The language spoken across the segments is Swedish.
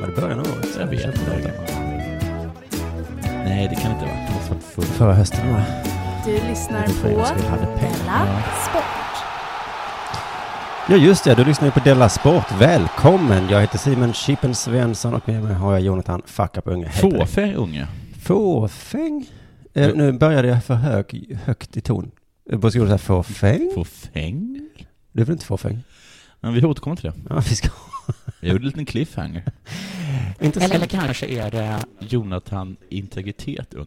Var det början av året? Jag vet inte. Nej, det kan inte ha varit. Det måste ha varit full. Förra hösten va? Du lyssnar Det är för jag på skulle ha hade Della pengar. Sport. Ja just det, du lyssnar ju på Della Sport. Välkommen! Jag heter Simon Chippen Svensson och med mig har jag Jonathan Fuck Up Unge. Hej på dig. Fåfäng unge. Fåfäng? Eh, nu började jag för hög, högt i ton. Eh, Borde jag säga fåfäng? Fåfäng? Du är väl inte fåfäng? Men vi återkommer till det. Ja, vi ska... Jag gjorde en liten cliffhanger. Inte Eller så... kanske är det Jonathan Integritet unge.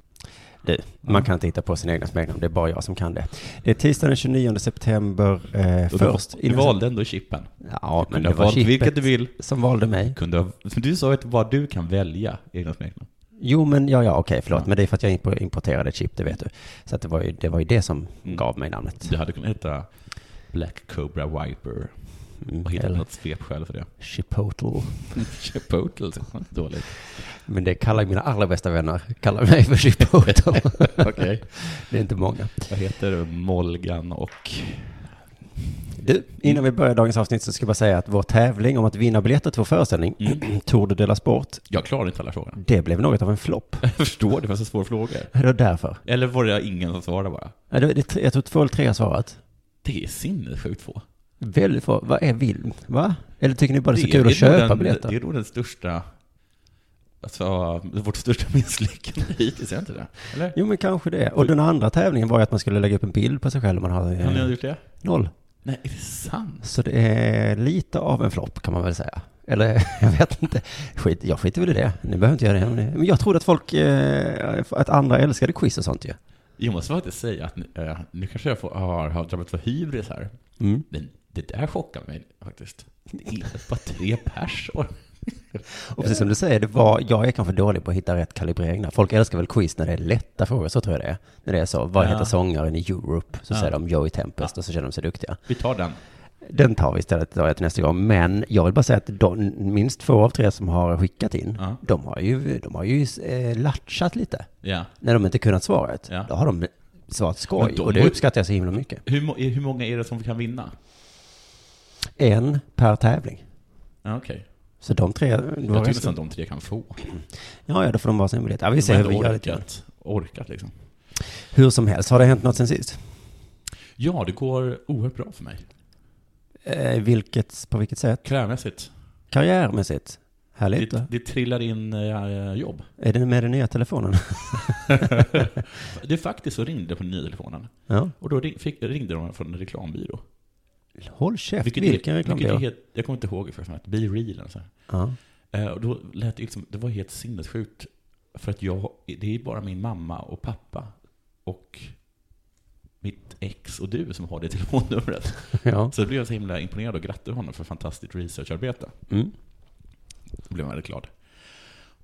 Du, man kan inte hitta på sina egna smeknamn. Det är bara jag som kan det. Det är tisdagen den 29 september eh, Och först. Du, du innan- valde ändå chippen. Ja, men Kunde det ha var valt vilket chippet du vill. som valde mig. Kunde ha, du sa ju att bara du kan välja egna smeknamn. Jo, men ja, ja, okej, förlåt. Ja. Men det är för att jag impo- importerade ett chip, det vet du. Så att det, var ju, det var ju det som Mm. gav mig namnet. Du hade kunnat heta Black Cobra Viper Mm, och hittat eller något svepskäl för det. Chipotle. Chipotle, det var inte dåligt. Men det kallar mina allra bästa vänner, kallar mig för Chipotle. Okej. det är inte många. Vad heter Molgan och... Du, innan vi börjar dagens avsnitt så ska jag bara säga att vår tävling om att vinna biljetter till vår föreställning, Tour de Delas Sport, Jag klarar inte alla frågorna. det blev något av en flopp. Jag förstår, det var så svåra frågor. Det var därför. Eller var det ingen som svarade bara? Ja, det- det- Jag tror två eller tre har svarat. Det är sinnessjukt få. Väldigt få. Vad är Vilm? Va? Eller tycker ni bara det är så är kul nog att köpa den, biljetter? Det är nog den största, alltså vårt största misslyckande hittills, är inte det? Eller? Jo men kanske det. Och den andra tävlingen var ju att man skulle lägga upp en bild på sig själv om man hade Har eh, ni gjort det? noll. Nej, är det sant? Så det är lite av en flopp kan man väl säga. Eller jag vet inte. Skit, jag skiter väl i det. Ni behöver inte göra det. om ni- Men jag trodde att folk, eh, att andra älskade quiz och sånt ju. Jag måste faktiskt säga att nu, eh, nu kanske jag får, har, har drabbats av hybris här. Mm. Men det där chockar mig faktiskt. Det är Bara tre pers. Och- Och precis som du säger, det var, jag är kanske dålig på att hitta rätt kalibrering där. Folk älskar väl quiz när det är lätta frågor, så tror jag det är. När det är så, vad Ja. heter sångaren i Europe? Så Ja. säger de Joey Tempest och så känner de sig duktiga. Vi tar den. Den tar vi istället tar jag till nästa gång. Men jag vill bara säga att de, minst två av tre som har skickat in, Ja. de har ju, de har ju eh, latchat lite. Ja. När de inte kunnat svaret, Ja. då har de svarat skoj. Men de och det har ju- uppskattar jag så himla mycket. Hur, må- hur många är det som kan vinna? En per tävling. Ja, Okej. Så de tre... då Jag har tycker jag- nästan de tre kan få. Ja, ja, då får de varsin biljett. Ja, vi ser hur vi De har gör inte det. orkat, orkat liksom. Hur som helst, har det hänt något sen sist? Ja, det går oerhört bra för mig. Eh, vilket, på vilket sätt? Karriärmässigt. Karriärmässigt? Härligt. Det, det trillar in eh, jobb. Är det med den nya telefonen? Det är faktiskt så ringde på nya telefonen. ja. Och då ring, fick, ringde de från en reklambyrå. Håll käft, vilken är- reklambyrå? vilket är helt- Jag kommer inte ihåg exakt, vad det hette. Be real eller så här. Ja. Eh, och då lät det liksom, det var helt sinnessjukt. För att jag, det är bara min mamma och pappa och mitt ex och du som har det telefonnumret. ja. Så då blev jag så himla imponerad och grattade honom för fantastiskt researcharbete. Mm. Då blev jag väldigt glad.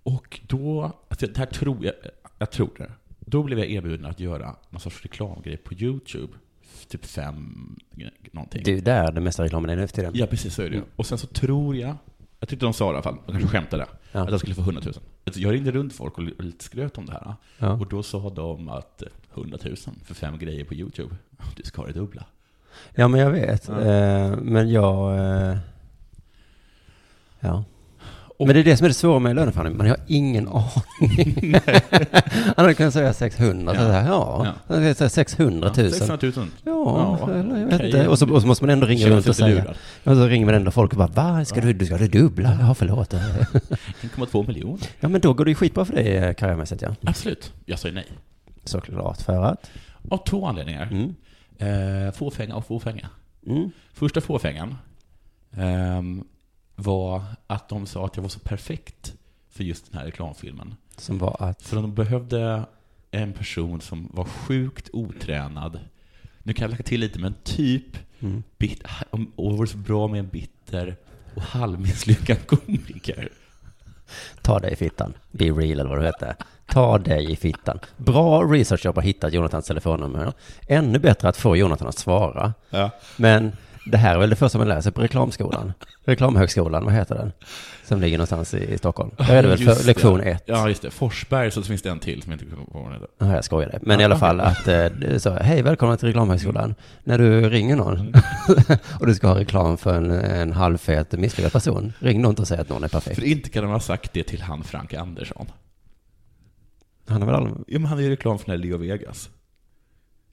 Och då, alltså det här tror jag, jag tror det. Då blev jag erbjuden att göra någon sorts reklamgrej på YouTube. Typ fem, gre- någonting. Det Mm. är ju där den mesta reklamen är nu för tiden. Ja, precis så är det ju. Och sen så tror jag, jag tyckte de sa det i alla fall, de kanske skämtade, Ja. att jag skulle få 100 000. Alltså, Jag ringde runt folk och li- lite skröt om det här. Ja. Och då sa de att 100 000 för fem grejer på YouTube, du ska ha det dubbla. Ja, men jag vet. Ja. Eh, men jag... Eh, ja. Och- Men det är det som är det svåra med löneförhandling. Man har ingen aning. Han hade kunnat säga 600. Så Ja. här, ja. ja. 600 000. 600 000. Ja, Ja, eller jag vet okej. inte. Och så, och så måste man ändå ringa Känns runt och lite säga. lurad. Och så ringer man ändå folk och bara, va? Ska du, du ska ha det dubbla? Ja, förlåt. 1,2 miljoner. Ja, men då går det ju skitbra för dig eh, karriärmässigt, ja. Absolut. Jag sa ju nej. Såklart, för att. Av två anledningar. Mm. Eh, fåfänga och fåfänga. Mm. Första fåfängan ehm, var att de sa att jag var så perfekt för just den här reklamfilmen. Som var att... För de behövde en person som var sjukt otränad. Nu kan jag lägga till lite, men typ Mm. bit, och det vore så bra med en bitter och halvmisslyckad komiker. Ta dig i fittan. Be real eller vad det heter. Ta dig i fittan. Bra researchjobb har hittat Jonathans telefonnummer. Ännu bättre att få Jonathan att svara. Ja. Men det här är väl det första man lär sig på reklamskolan. Reklamhögskolan, vad heter den? Som ligger någonstans i, i Stockholm. Där är det väl Just för lektion ett. Ja, just det. Forsberg, så finns det en till som jag inte kommer på vad den heter. Ja, jag skojade. Men i alla fall att eh, det- så, hej välkomna till reklamhögskolan. När du ringer någon och du ska ha reklam för en, en halvfet misslyckad person, ring då inte och säg att någon är perfekt. För inte kan de ha sagt det till han Frank Andersson. Han har väl aldrig... Ja, men han är ju reklam för den här Leo Vegas.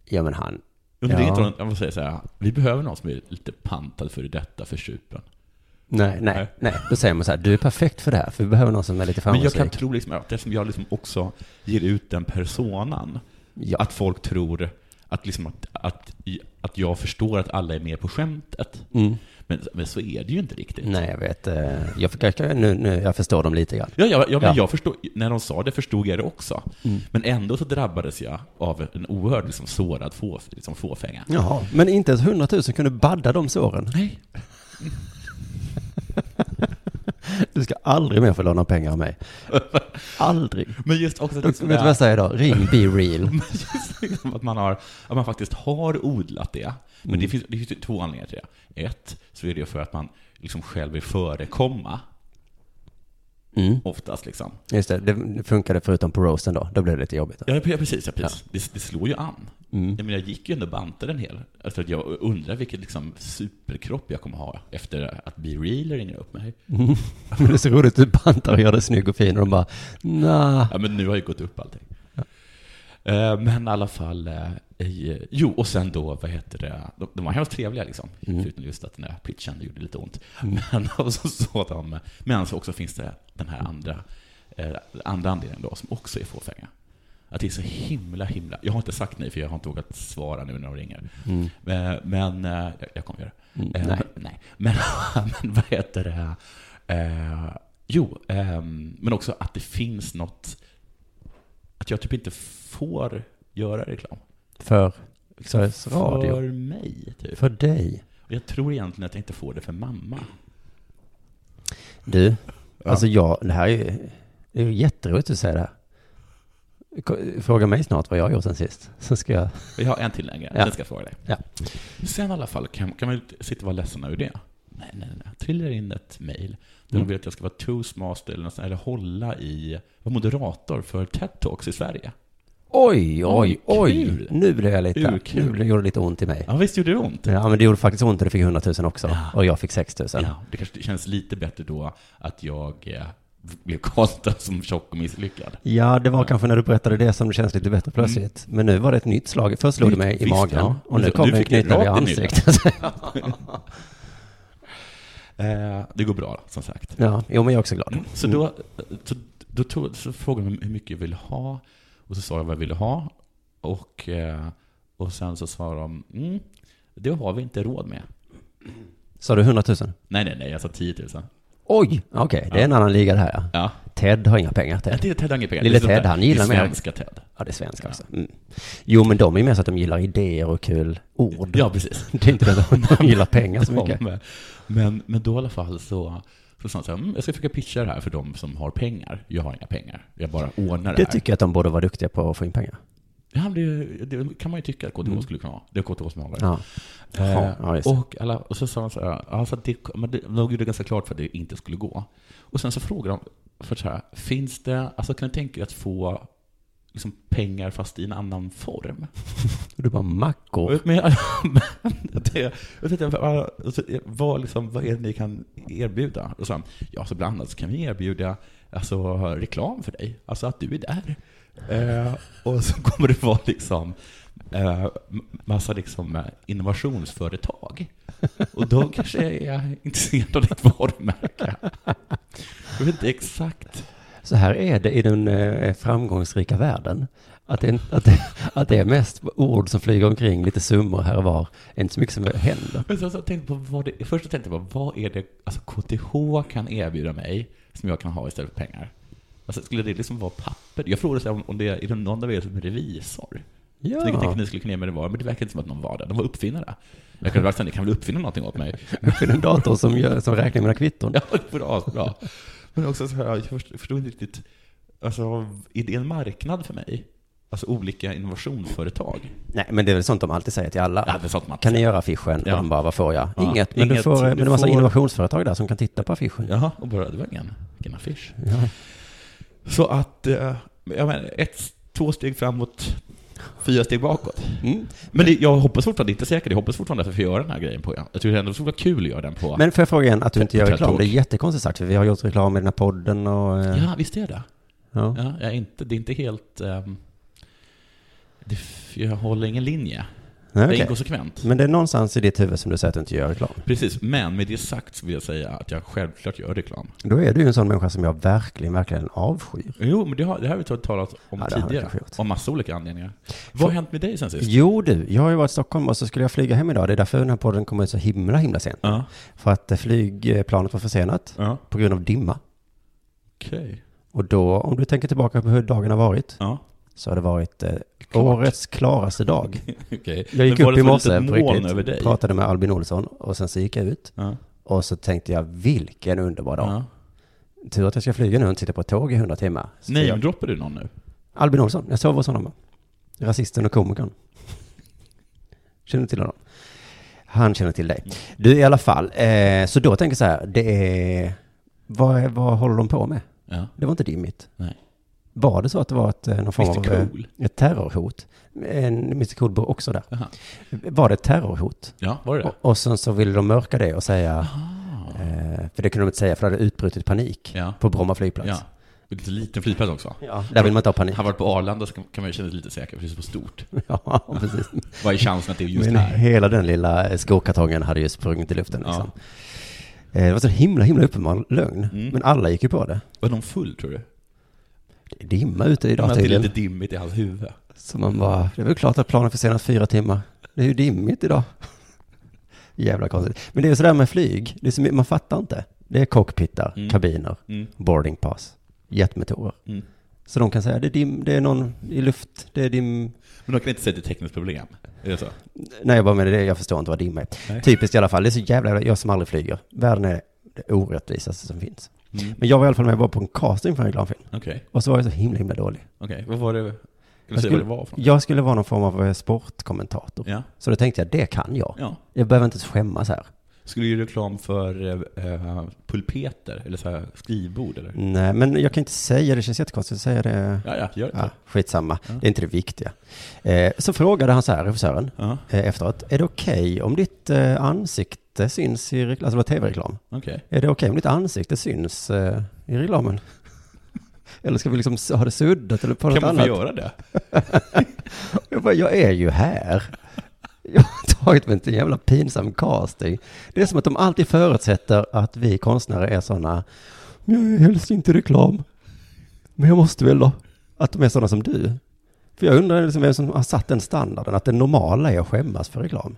Ja men han, Undrar Ja. inte om de säger så här, vi behöver någon som är lite pantad för detta för supen. nej, nej, Nej. nej. Då säger man så här, du är perfekt för det här, för vi behöver någon som är lite Men jag framgångsrik. kan tro liksom att eftersom jag liksom också ger ut den personan, Ja. att folk tror att, liksom att, att, att jag förstår att alla är med på skämtet. Mm. Men, men så är det ju inte riktigt. Nej, jag vet. eh, Jag, jag, jag, nu, nu, jag förstår dem lite grann. Ja, ja, ja, Mm. men Ja. jag förstod, när de sa det förstod jag det också. Men ändå så drabbades jag av en oerhörd liksom, sårad få, liksom, fåfänga. Jaha, men inte ens 100 000 kunde badda de såren. Nej. Du ska aldrig mer få låna pengar av mig. Aldrig. Men just också att, Vet du liksom, det vad här- jag säger då? Ring Be Real. Men just liksom att, man har, att man faktiskt har odlat det. Men Mm. det, finns, det finns ju två anledningar till det. Ett, så är det för att man liksom själv vill förekomma, Mm. oftast. Liksom. Just det, det funkade förutom på roasten då. Då blev det lite jobbigt. Ja, ja, precis. Ja, precis. Det, det slår ju an. Mm. Jag, menar, jag gick ju ändå och bantade en hel. Alltså, att jag undrar vilken liksom, superkropp jag kommer ha efter att Be Real ringer upp mig. Mm. Men det är så roligt, du bantar och gör det snygg och fin och de bara, nah. Ja, men nu har ju gått upp allting. Eh, Men i alla fall, eh, i- jo, och sen då, vad heter det, de, de var hemskt trevliga liksom, förutom just att den där pitchen gjorde lite ont. Men och så, så de, men så också finns det den här andra, eh, andra anledningen då, som också är fåfänga. Att det är så himla, himla, jag har inte sagt nej för jag har inte vågat svara nu när de ringer. Mm. Eh, Men, eh, jag, jag kommer göra det. Eh, nej. nej. Men, men vad heter det, eh, jo, ehm, men också att det finns något, att jag typ inte får göra reklam. För Sveriges För Radio. mig, typ. För dig. Och jag tror egentligen att jag inte får det för mamma. Du, alltså jag, det här är ju, det är ju jätteroligt att du säger det här. Ko- Fråga mig snart vad jag har gjort sen sist. Så ska jag, Vi har en till längre, Ja. den ska jag fråga dig. Ja. Sen i alla fall, kan, kan man ju inte sitta och vara ledsen över det? Nej, nej, nej. Jag trillar in ett mejl där Mm. de vill att jag ska vara toastmaster eller, något sånt, eller hålla i, vara moderator för TED-talks i Sverige. oj, oj, Oj, oj. kul. Nu blev jag lite, Urkul. nu blev- gjorde det lite ont i mig. Ja, visst gjorde det ont? Ja, men det gjorde faktiskt ont och du fick 100 000 också. Ja. Och jag fick 6 000. Ja, det kanske känns lite bättre då att jag eh, blev kastad som tjock och misslyckad. Ja, det var kanske när du berättade det som det känns lite bättre plötsligt. Men nu var det ett nytt slag. Först slog det mig i Visst, magen Mm. ja. och nu Så kom nu det en fick du knytnäve i rakt in i ansiktet. Eh, det går bra, som sagt. ja, jo, men jag är också glad. Så då, så, då tog, så frågade de hur mycket jag ville ha. Och så sa jag vad jag ville ha. Och, eh, och sen så sa de, mm, det har vi inte råd med. Sa du 100 000? Nej, nej, nej, jag sa 10 000. Oj! Okej, det är en annan liga det här ja. Ja. Ted har inga pengar, Nej, Ted. det är Ted Angepengar. Lille Ted, han gillar Det mig. är svenska Ted. Ja, det är svenska också. Mm. Jo, men de är ju mer så att de gillar idéer och kul ord. Ja, precis. Det är inte det att de gillar pengar så De- mycket. Men, men då i alla fall så, så sa han så här, mm, jag ska försöka pitcha det här för de som har pengar. Jag har inga pengar. Jag bara ordnar det, Det här. tycker jag att de borde vara duktiga på att få in pengar. Ja, det, är ju- det kan man ju tycka att KTH skulle kunna ha. Det är KTH som håller. Mm. Ja. Eh, Ja, just det. och, alla, och så sa han så här, alltså det, men det, de gjorde det ganska klart för att det inte skulle gå. Och sen så frågade de, för så här, finns det, alltså kan ni tänka er att få liksom pengar fast i en annan form. Och du bara mackor. Men jag, men det, jag tänkte, vad, vad, liksom, vad är det ni kan erbjuda? Och så han, ja, så bland annat så kan vi erbjuda alltså, reklam för dig, alltså att du är där. Eh, och så kommer det vara liksom eh, massa liksom eh, innovationsföretag. Och de kanske är intresserade av ditt varumärke. Jag vet inte exakt. Så här är det i den eh, framgångsrika världen. Att det, att, det, att det är mest ord som flyger omkring, lite summor här och var. Inte så mycket som händer. Men sen så tänkte jag på vad det, först så tänkte jag på vad är det alltså KTH kan erbjuda mig som jag kan ha istället för pengar? Alltså, skulle det liksom vara papper? Jag frågade så här om, om det är det någon av er som är revisor. Ja. Så jag tänkte att ni skulle kunna ge mig det var, men det verkar inte som att någon var det. De var uppfinnare. Jag kunde verkligen, ni kan väl uppfinna någonting åt mig? För en dator som, gör, som räknar mina kvitton. ja, det var asbra. Men också så här, jag först- förstod inte riktigt, alltså, är det en marknad för mig? Alltså olika innovationsföretag? Nej, men det är väl sånt de alltid säger till alla. Ja, det är sånt man Kan ni göra affischen? Ja. Och de bara, vad får jag? Ja, Inget. Men, inget. Du får, men det är massa Du får- innovationsföretag där som kan titta på affischen. Jaha, och bara, det var ingen, vilken affisch. Så att, eh, jag menar, ett, två steg framåt, fyra steg bakåt. Mm. Men det, jag hoppas fortfarande, det är inte säkert, jag hoppas fortfarande att vi får göra den här grejen på. Jag tycker ändå det skulle vara kul att göra den på. Men får jag fråga igen, att du inte gör På reklam? TED-talk. Det är jättekonstigt sagt, för vi har gjort reklam i den här podden och... eh, ja, visst är det. ja. Ja, jag är inte, det är inte helt... ehm, det, f- jag håller ingen linje. Nej, Jag är okej. inkonsekvent. Men det är någonstans i ditt huvud som du säger att du inte gör reklam. Precis, men med det sagt så vill jag säga att jag självklart gör reklam. Då är du ju en sån människa som jag verkligen, verkligen avskyr. Jo, men det har, det här har vi talat om Ja, det har vi tidigare, kanske gjort. av massa olika anledningar. Vad har hänt med dig sen sist? Jo du, jag har ju varit i Stockholm och så skulle jag flyga hem idag. Det är därför den här podden kommer ut så himla, himla sent. Ja, För att eh, flygplanet var försenat ja. på grund av dimma. okej. Och då, om du tänker tillbaka på hur dagen har varit, Ja. så har det varit eh, Klart. årets klaraste dag. Okej. Jag gick Men var upp det i som ett morse litet på moln riktigt, över dig? pratade med Albin Olsson och sen så gick jag ut. Ja. Och så tänkte jag, vilken underbar dag. Ja. Tur att jag ska flyga nu och inte sitta på ett tåg i 100 timmar. Så Nej, men jag, droppar du någon nu? Albin Olsson, jag sov hos honom. Rasisten och komikern. Känner du till honom? Han känner till dig. Du i alla fall, eh, så då tänker jag så här, det är... Vad, är, vad håller de på med? Ja. Det var inte dimmigt. Nej. Var det så att det var ett, eh, någon form Mr. av eh, Cool. ett terrorhot? En, Mr Cool bor också där. Aha. Var det ett terrorhot? Ja, var det det? Ah. Och, och sen så ville de mörka det och säga, eh, för det kunde de inte säga för det hade utbrutit panik Ja. på Bromma flygplats. Ja. Det är lite liten flygplats också. Ja, där vill man inte ha panik. Har varit på Arlanda så kan kan man ju känna sig lite säker, precis på stort. Ja, precis. Vad är chansen att det är just Men här? hela den lilla eh, skokartongen hade ju sprungit i luften liksom. Eh, Det var så himla, himla uppenbar lögn. Mm. Men alla gick ju på det. Var någon full, tror du? Det är dimma ute Men idag att det är tydligen. lite dimmigt i hans huvud. Så man bara, det är väl klart att planen försenas fyra timmar. Det är ju dimmigt idag. Jävla konstigt. Men det är ju sådär med flyg, det är så, mycket- man fattar inte. Det är cockpittar, kabiner, Mm. boarding pass, jetmotorer. Mm. Så de kan säga, det är, dim, det är någon i luft, det är dim... Men de kan inte säga att det är ett tekniskt problem. Är det så? Nej, jag bara menar det, jag förstår inte vad dimma är. Nej. Typiskt i alla fall, det är så jävla, jävla- jag som aldrig flyger. Världen är det orättvisaste som finns. Mm. Men jag var i alla fall med bara på en casting för en reklamfilm. Okej. Och så var jag så himla, himla dålig. Okej. Vad var det? Kan du säga Jag vad skulle, det var för något? jag skulle vara någon form av eh, sportkommentator. Ja. Så då tänkte jag, det kan jag. Ja. Jag behöver inte skämmas här. Skulle du göra reklam för eh, eh, pulpeter? Eller så här skrivbord? Eller? Nej, men jag kan inte säga det, det känns jättekonstigt att säga det. Ja, ja, gör det. Ja, skitsamma, det är inte det viktiga. Eh, så frågade han så här, regissören, Ja. eh, efteråt, är det okej om ditt eh, ansikte syns i reklam, alltså det var tv-reklam? Okej. Är det okej om ditt ansikte syns eh, i reklamen? eller ska vi liksom s- ha det suddat eller på något Kan man annat? få göra det? Jag bara, jag är ju här. Jag har tagit mig till en jävla pinsam casting. Det är som att de alltid förutsätter att vi konstnärer är sådana, jag är helst inte reklam, men jag måste väl då. Att de är sådana som du. För jag undrar liksom vem som har satt den standarden, att det normala är att skämmas för reklam.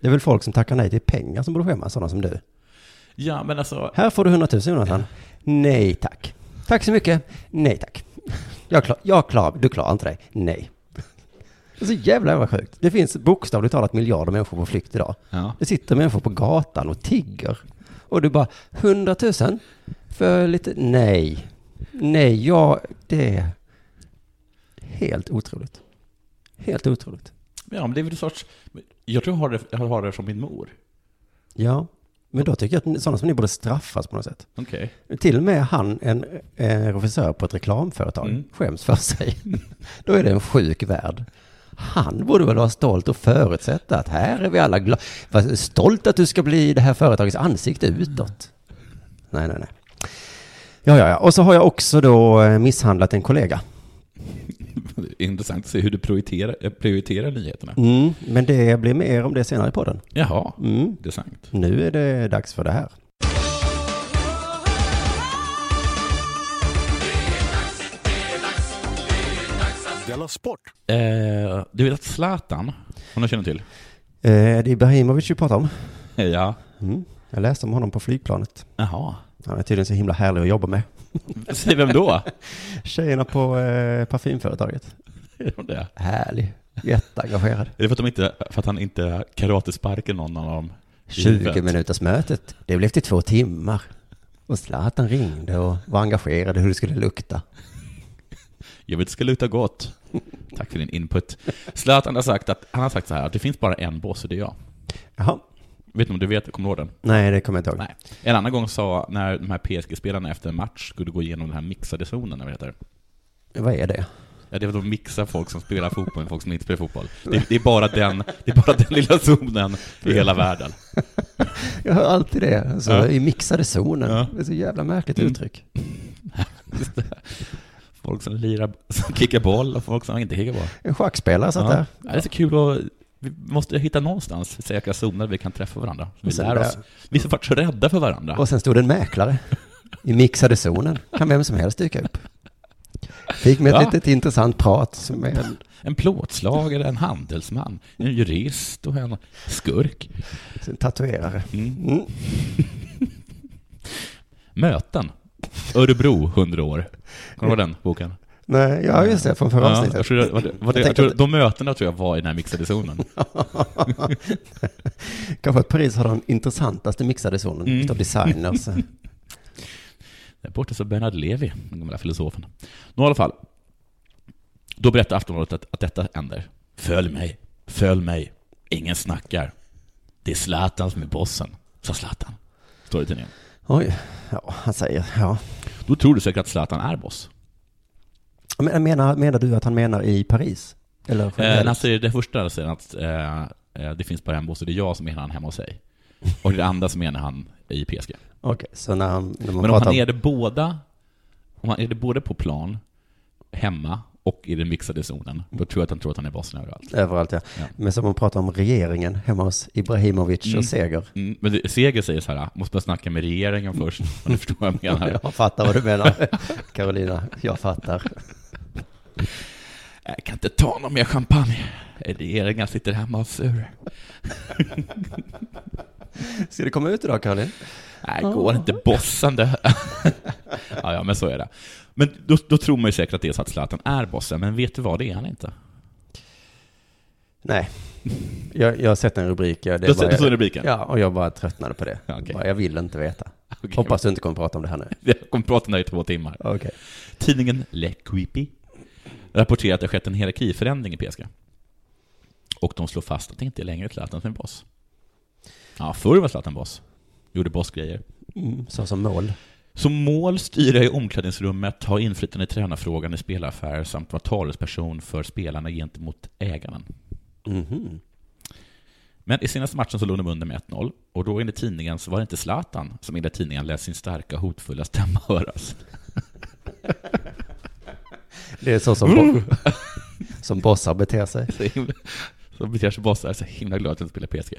Det är väl folk som tackar nej till pengar som borde skämmas, sådana som du. Ja, men alltså... Här får du 100 000 Jonathan. Nej tack. Tack så mycket. Nej tack. Jag klar, jag klar, du klarar inte dig. Nej. Det är så jävla vad sjukt. Det finns bokstavligt talat miljarder människor på flykt idag. Ja. Det sitter människor på gatan och tigger. Och du bara, 100 000 för lite, nej. Nej, jag, det är helt otroligt. Helt otroligt. Ja, men det är väl en sorts... Jag tror jag har det, jag har det från min mor. Ja, Men då tycker jag att sådana som ni borde straffas på något sätt. Okej. Till och med han, en eh, regissör på ett reklamföretag, Mm. skäms för sig. Då är det en sjuk värld. Han borde väl vara stolt och förutsätta att här är vi alla glada. Var stolt att du ska bli det här företagets ansikte utåt. Nej, nej, nej. Ja, ja, ja. Och så har jag också då eh, misshandlat en kollega. Det är Intressant att se hur du prioriterar, eh, prioriterar nyheterna. Mm, men det blir mer om det senare i podden. Jaha, Mm. intressant. Nu är det dags för det här. Della Sport! Eh, du vet att Zlatan, hon har känner till? Eh, det är Ibrahimovic vi pratar om. Ja. Mm. Jag läste om honom på flygplanet. Jaha. Han är tydligen så himla härlig att jobba med. Säg vem då? Tjejerna på eh, parfymföretaget. Är hon det? Härlig. Jätteengagerad. Är det för att, de inte, för att han inte karatesparkar någon av dem? i 20 huvudet? minuters mötet. Det blev till två timmar. Och Zlatan ringde och var engagerad i hur det skulle lukta. Jag vet, det ska luta gott. Tack för din input. Zlatan har sagt, att, han har sagt så här, att det finns bara en boss och det är jag. Jaha. Vet du om du vet, kommer du ihåg den? Nej, det kommer jag inte ihåg. Nej. En annan gång sa, när de här PSG-spelarna efter en match skulle gå igenom den här mixade zonen, eller vad det heter. Vad är det? Ja, det är att de mixar folk som spelar fotboll med folk som inte spelar fotboll. Det, det, är, bara den, det är bara den lilla zonen i hela världen. Jag hör alltid det. Alltså, Ja. I mixade zonen. Ja. Det är så jävla märkligt Mm. uttryck. Folk som lirar, som kickar boll och folk som inte kickar boll. En schackspelare satt Ja. där. Ja, det är så kul att vi måste hitta någonstans säkra zoner vi kan träffa varandra. Vi Och sen lär där. oss. Vi har varit så rädda för varandra. Och sen stod det en mäklare. I mixade zonen kan vem som helst dyka upp. Fick med ett Ja. litet intressant prat med En plåtslagare, en handelsman, en jurist och en skurk. en tatuerare. Mm. Mm. Möten. Örebro, 100 år. Kommer du ihåg den boken? Nej, ja just det, från förra Ja, avsnittet. jag tror det, var det, var det, Jag jag tänkte tror, de mötena tror jag var i den här mixade zonen. Kanske att Paris har den intressantaste mixade zonen Mm. utav designers. Där borta så Bernard Levi, den gamla filosofen. Nå i alla fall. Då berättar Aftonbladet att, att detta händer. Följ mig, följ mig. Ingen snackar. Det är Zlatan som är bossen, sa Zlatan. Står det i tidningen. Oj, ja, han säger, ja. Då tror du säkert att Zlatan är boss. Men, menar, menar du att han menar i Paris? Eller Eh, när generellt? han säger det första säger han att eh, eh, det finns bara en boss och det är jag som menar han hemma hos sig. Och det andra så menar han i PSG. Okej, så när, han, när man Men om pratar han är om... det båda, om han är det både på plan, hemma och i den mixade zonen, då tror jag att han tror att han är bossen överallt. Överallt ja. Ja. Men som man pratar om regeringen hemma hos Ibrahimovic Mm. och Seger. Mm, men det- Seger säger så här, "Ah, måste man snacka med regeringen först, om du förstår vad jag menar. Jag fattar vad du menar, Carolina. Jag fattar. Jag "Eh, kan inte ta någon mer champagne. Regeringen sitter hemma och sur. Ska det komma ut idag, Caroline? Nej, går inte bossande. ja, ja, men så är det. Men då, då tror man ju säkert att det är så att Zlatan är bossen, men vet du vad, det är han inte. Nej. Jag, jag har sett en rubrik. Jag, det Du har bara- sett- du såg rubriken? Ja, och jag bara tröttnade på det. Ja, okej. Bara, jag vill inte veta. Okej. Hoppas du inte kommer prata om det här nu. Jag kommer prata om det här i två timmar. Okej. Tidningen Le Creepy rapporterar att det har skett en hierarkiförändring i PSG. Och de slår fast att det inte är längre Zlatan som är boss. Ja, förr var Zlatan boss. Gjorde bossgrejer. Mm, så som mål. Som mål styra i omklädningsrummet, ha inflytande i tränarfrågan i spelaffärer samt vara talesperson för spelarna gentemot ägaren. Mhm. Men i senaste matchen så låg de under med 1-0 och då enligt tidningen så var det inte Zlatan som enligt tidningen lät sin starka hotfulla stämma höras. Det är så som, Mm. bo- som bossar beter sig. Så himla- Så beter sig bossar, så himla glad att jag inte spelar PSG.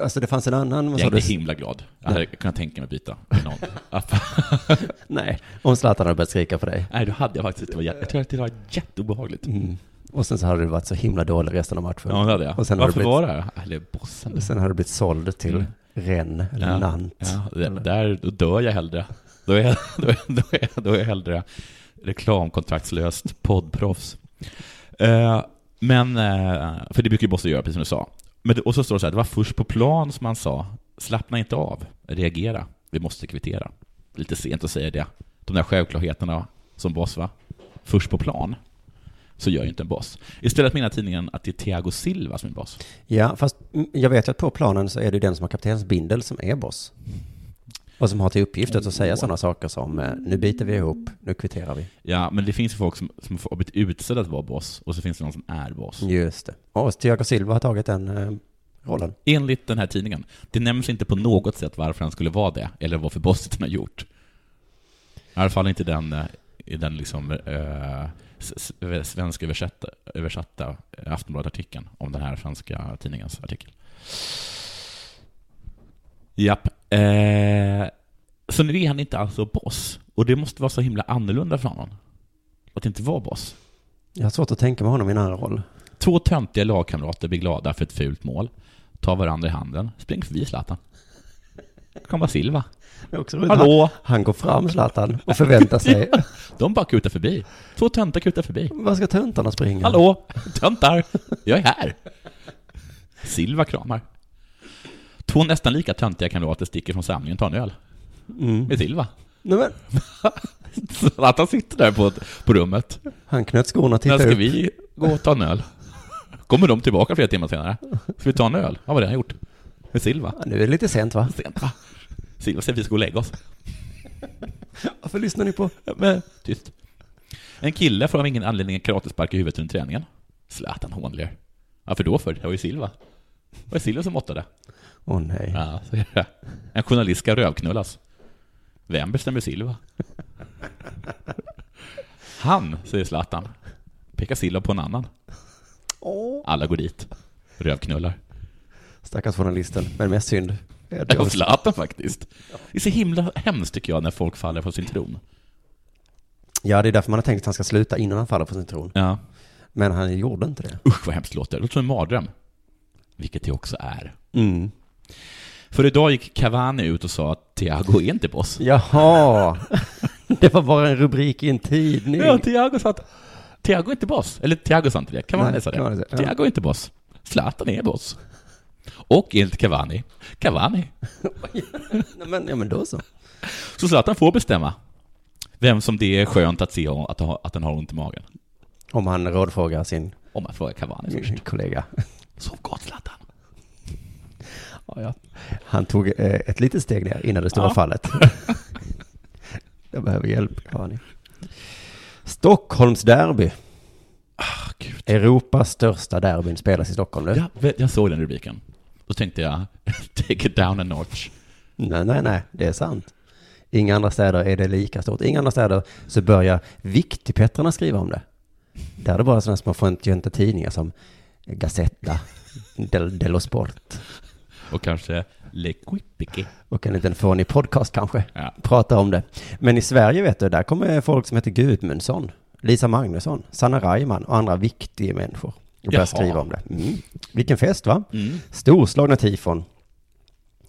Alltså det fanns en annan, vad Jag är sa inte du? himla glad. Jag hade kunnat tänka mig att byta med någon. Nej, om Zlatan hade börjat skrika på dig. Nej, då hade jag faktiskt inte varit jä- Jag tror att det var jätteobehagligt. Och sen så hade du varit så himla dålig resten av matchen. Ja, det hade jag. Mm. Och sen har Varför det blivit- var det här? Eller bossen. Sen hade du blivit såld till Mm. Rennes eller Ja, Nantes. Ja, det- där, då dör jag hellre. Då är jag, då är, då är, då är jag hellre reklamkontraktslöst poddproffs. Eh, men, eh, för det brukar ju Bosse göra, precis som du sa. Men, det- och så står det så här, det var först på plan som man sa, slappna inte av, reagera, vi måste kvittera. Lite sent att säga det. De där självklarheterna som boss, va? Först på plan. så gör ju inte en boss. Istället menar tidningen att det är Thiago Silva som är boss. Ja, fast mm, jag vet ju att på planen så är det ju den som har kaptenens bindel som är boss. Och som har till uppgift att säga sådana saker som eh, nu biter vi ihop, nu kvitterar vi. Ja, men det finns ju folk som, som har blivit utsedda att vara boss, och så finns det någon som är boss. Just det. Och Thiago Silva har tagit den eh, rollen. Enligt den här tidningen. Det nämns inte på något sätt varför han skulle vara det, eller vad för Boston har gjort. I alla fall inte den, eh, i den liksom, eh, s- s- svensk översatta, översatta eh, Aftonbladet-artikeln om den här franska tidningens artikel. Japp. Eh, så nu är han inte alltså boss, och det måste vara så himla annorlunda för honom. Att inte vara boss. Jag har svårt att tänka mig honom i en annan roll. Två töntiga lagkamrater blir glada för ett fult mål. Tar varandra i handen. Spring förbi Zlatan. Kommer Silva. Hallå! Han går fram, Zlatan, och förväntar sig. De bara kutar förbi. Två töntar kutar förbi. Vad ska töntarna springa? Hallå! Töntar! Jag är här! Silva kramar. Två nästan lika töntiga kamrater sticker från samlingen och tar en öl. Med Silva. Nej, men, Zlatan sitter där på, på rummet. han knöt skorna och När tittade ska upp. vi gå och ta en öl? Kommer de tillbaka flera timmar senare? Ska vi ta en öl? Ja, vad har han gjort? Med Silva. Ja, Nu är det lite sent va? sent va? Silva Ah. säger att vi ska gå och lägga oss. Varför lyssnar ni på? Men, tyst. En kille får av ingen anledning en karatespark i huvudet under träningen. Zlatan hånler. Varför då för? Det var ju Silva. Det var ju Silva som måttade. Åh nej. Ja, så är det. En journalist ska rövknullas. Vem bestämmer Silva? Han, säger Zlatan. Pekar Silva på en annan. Alla går dit. Rövknullar. Stackars journalisten, men mest synd. Ed Och Jones. Zlatan faktiskt. Det är så himla hemskt tycker jag när folk faller från sin tron. Ja, det är därför man har tänkt att han ska sluta innan han faller på sin tron. Ja. Men han gjorde inte det. Usch vad hemskt det låter. Det låter som en mardröm. Vilket det också är. Mm. För idag gick Cavani ut och sa att Thiago är inte boss. Jaha! Det var bara en rubrik i en tidning. Ja, Thiago sa att Thiago är inte boss. Eller Thiago sa inte det. Cavani Nej, sa det. Cavani sa det. Ja. Thiago är inte boss. Zlatan är boss. Och enligt Cavani, Cavani. Nej, men, ja, men då så. Så Zlatan får bestämma vem som det är skönt att se att, ha- att den har ont i magen. Om han rådfrågar sin Om man frågar Cavani först. kollega. Sov gott Zlatan. Ja, ja. Han tog eh, ett litet steg ner innan det stora Ja. fallet. Jag behöver hjälp, Kani. Stockholms derby. Ah, Gud. Europas största derbyn spelas i Stockholm nu. Jag, vet- jag såg den rubriken. Då tänkte jag, take it down a notch. Nej, nej, nej, det är sant. Inga andra städer är det lika stort. Inga andra städer så börjar Viktigpettrarna skriva om det. Där är det bara sådana små frontiönta tidningar som Gazzetta, Del, Dello Sport Och kanske Le Quippique. och en liten fånig podcast kanske. Ja. Prata om det. Men i Sverige vet du, där kommer folk som heter Gudmundsson, Lisa Magnusson, Sanna Reimann och andra viktiga människor. Och börjar Jaha. Mm. skriva om det. Mm. Vilken fest va? Storslagna tifon.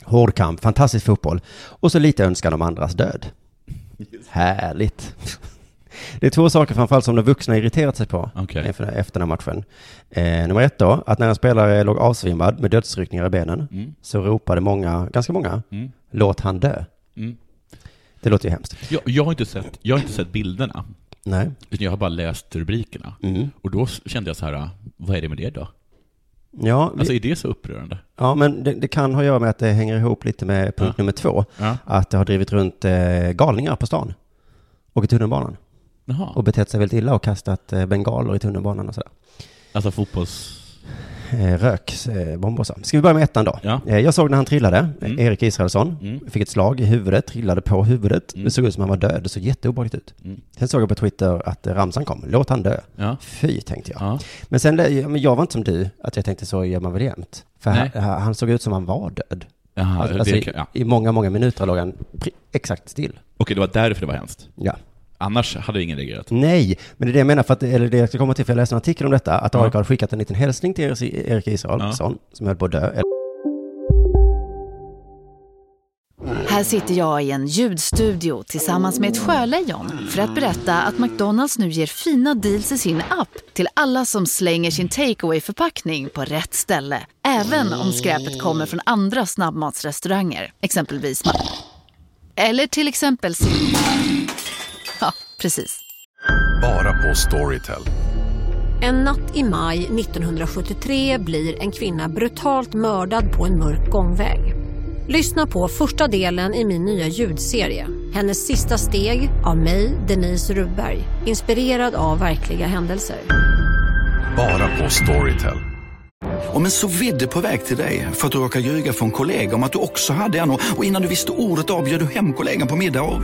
Hård kamp, fantastisk fotboll och så lite önskan om andras död. Härligt. Det är två saker framförallt som de vuxna irriterat sig på Okej. efter, efter den här matchen. Eh, nummer ett då, att när en spelare låg avsvimmad med dödsryckningar i benen Mm. så ropade många, ganska många, låt han dö. Mm. Det låter ju hemskt. Jag, jag, har inte sett, jag har inte sett bilderna, Nej. utan jag har bara läst rubrikerna. Mm. Och då s- kände jag så här, vad är det med det då? Ja, vi, Alltså är det så upprörande? ja men det, det kan ha att göra med att det hänger ihop lite med punkt nummer två. Ja. Att det har drivit runt eh, galningar på stan och i tunnelbanan. Jaha. Och betett sig väldigt illa och kastat eh, bengaler i tunnelbanan och sådär. Alltså fotbolls... Eh, Röksbomber och så. Ska vi börja med ettan då? Ja. Mm. Eh, jag såg när han trillade, eh, Erik Israelsson, fick ett slag i huvudet, trillade på huvudet. Mm. Det såg ut som han var död, det såg jätteobehagligt ut. Sen såg jag på Twitter att eh, ramsan kom, låt han dö. Ja. Fy, tänkte jag. Ja. Men sen, ja, men jag var inte som du, att jag tänkte så gör man väl jämt. För han, Nej. han såg ut som han var död. Jaha, alltså, det, i, kan- ja. I många, många minuter låg han pri- exakt still. Okej, det var därför det var hemskt. Ja. Annars hade ingen reagerat. Nej, men det är det jag menar, för att, eller det jag ska komma till, för jag läste en artikel om detta, att AIK har skickat en liten hälsning till Erik- Erik Israelsson, som höll på att dö. Här sitter jag i en ljudstudio tillsammans med ett sjölejon för att berätta att McDonalds nu ger fina deals i sin app till alla som slänger sin takeaway förpackning på rätt ställe. Även om skräpet kommer från andra snabbmatsrestauranger, exempelvis Ma- Eller till exempel Sim- Ja, precis. Bara på Storytel. En natt i maj 1973 blir en kvinna brutalt mördad på en mörk gångväg. Lyssna på första delen i min nya ljudserie. Hennes sista steg av mig, Denise Rubberg. Inspirerad av verkliga händelser. Bara på Storytel. Om en så vidde på väg till dig för att du råkar ljuga från kollega om att du också hade en och och innan du visste ordet av bjöd du hem kollegan på middag och...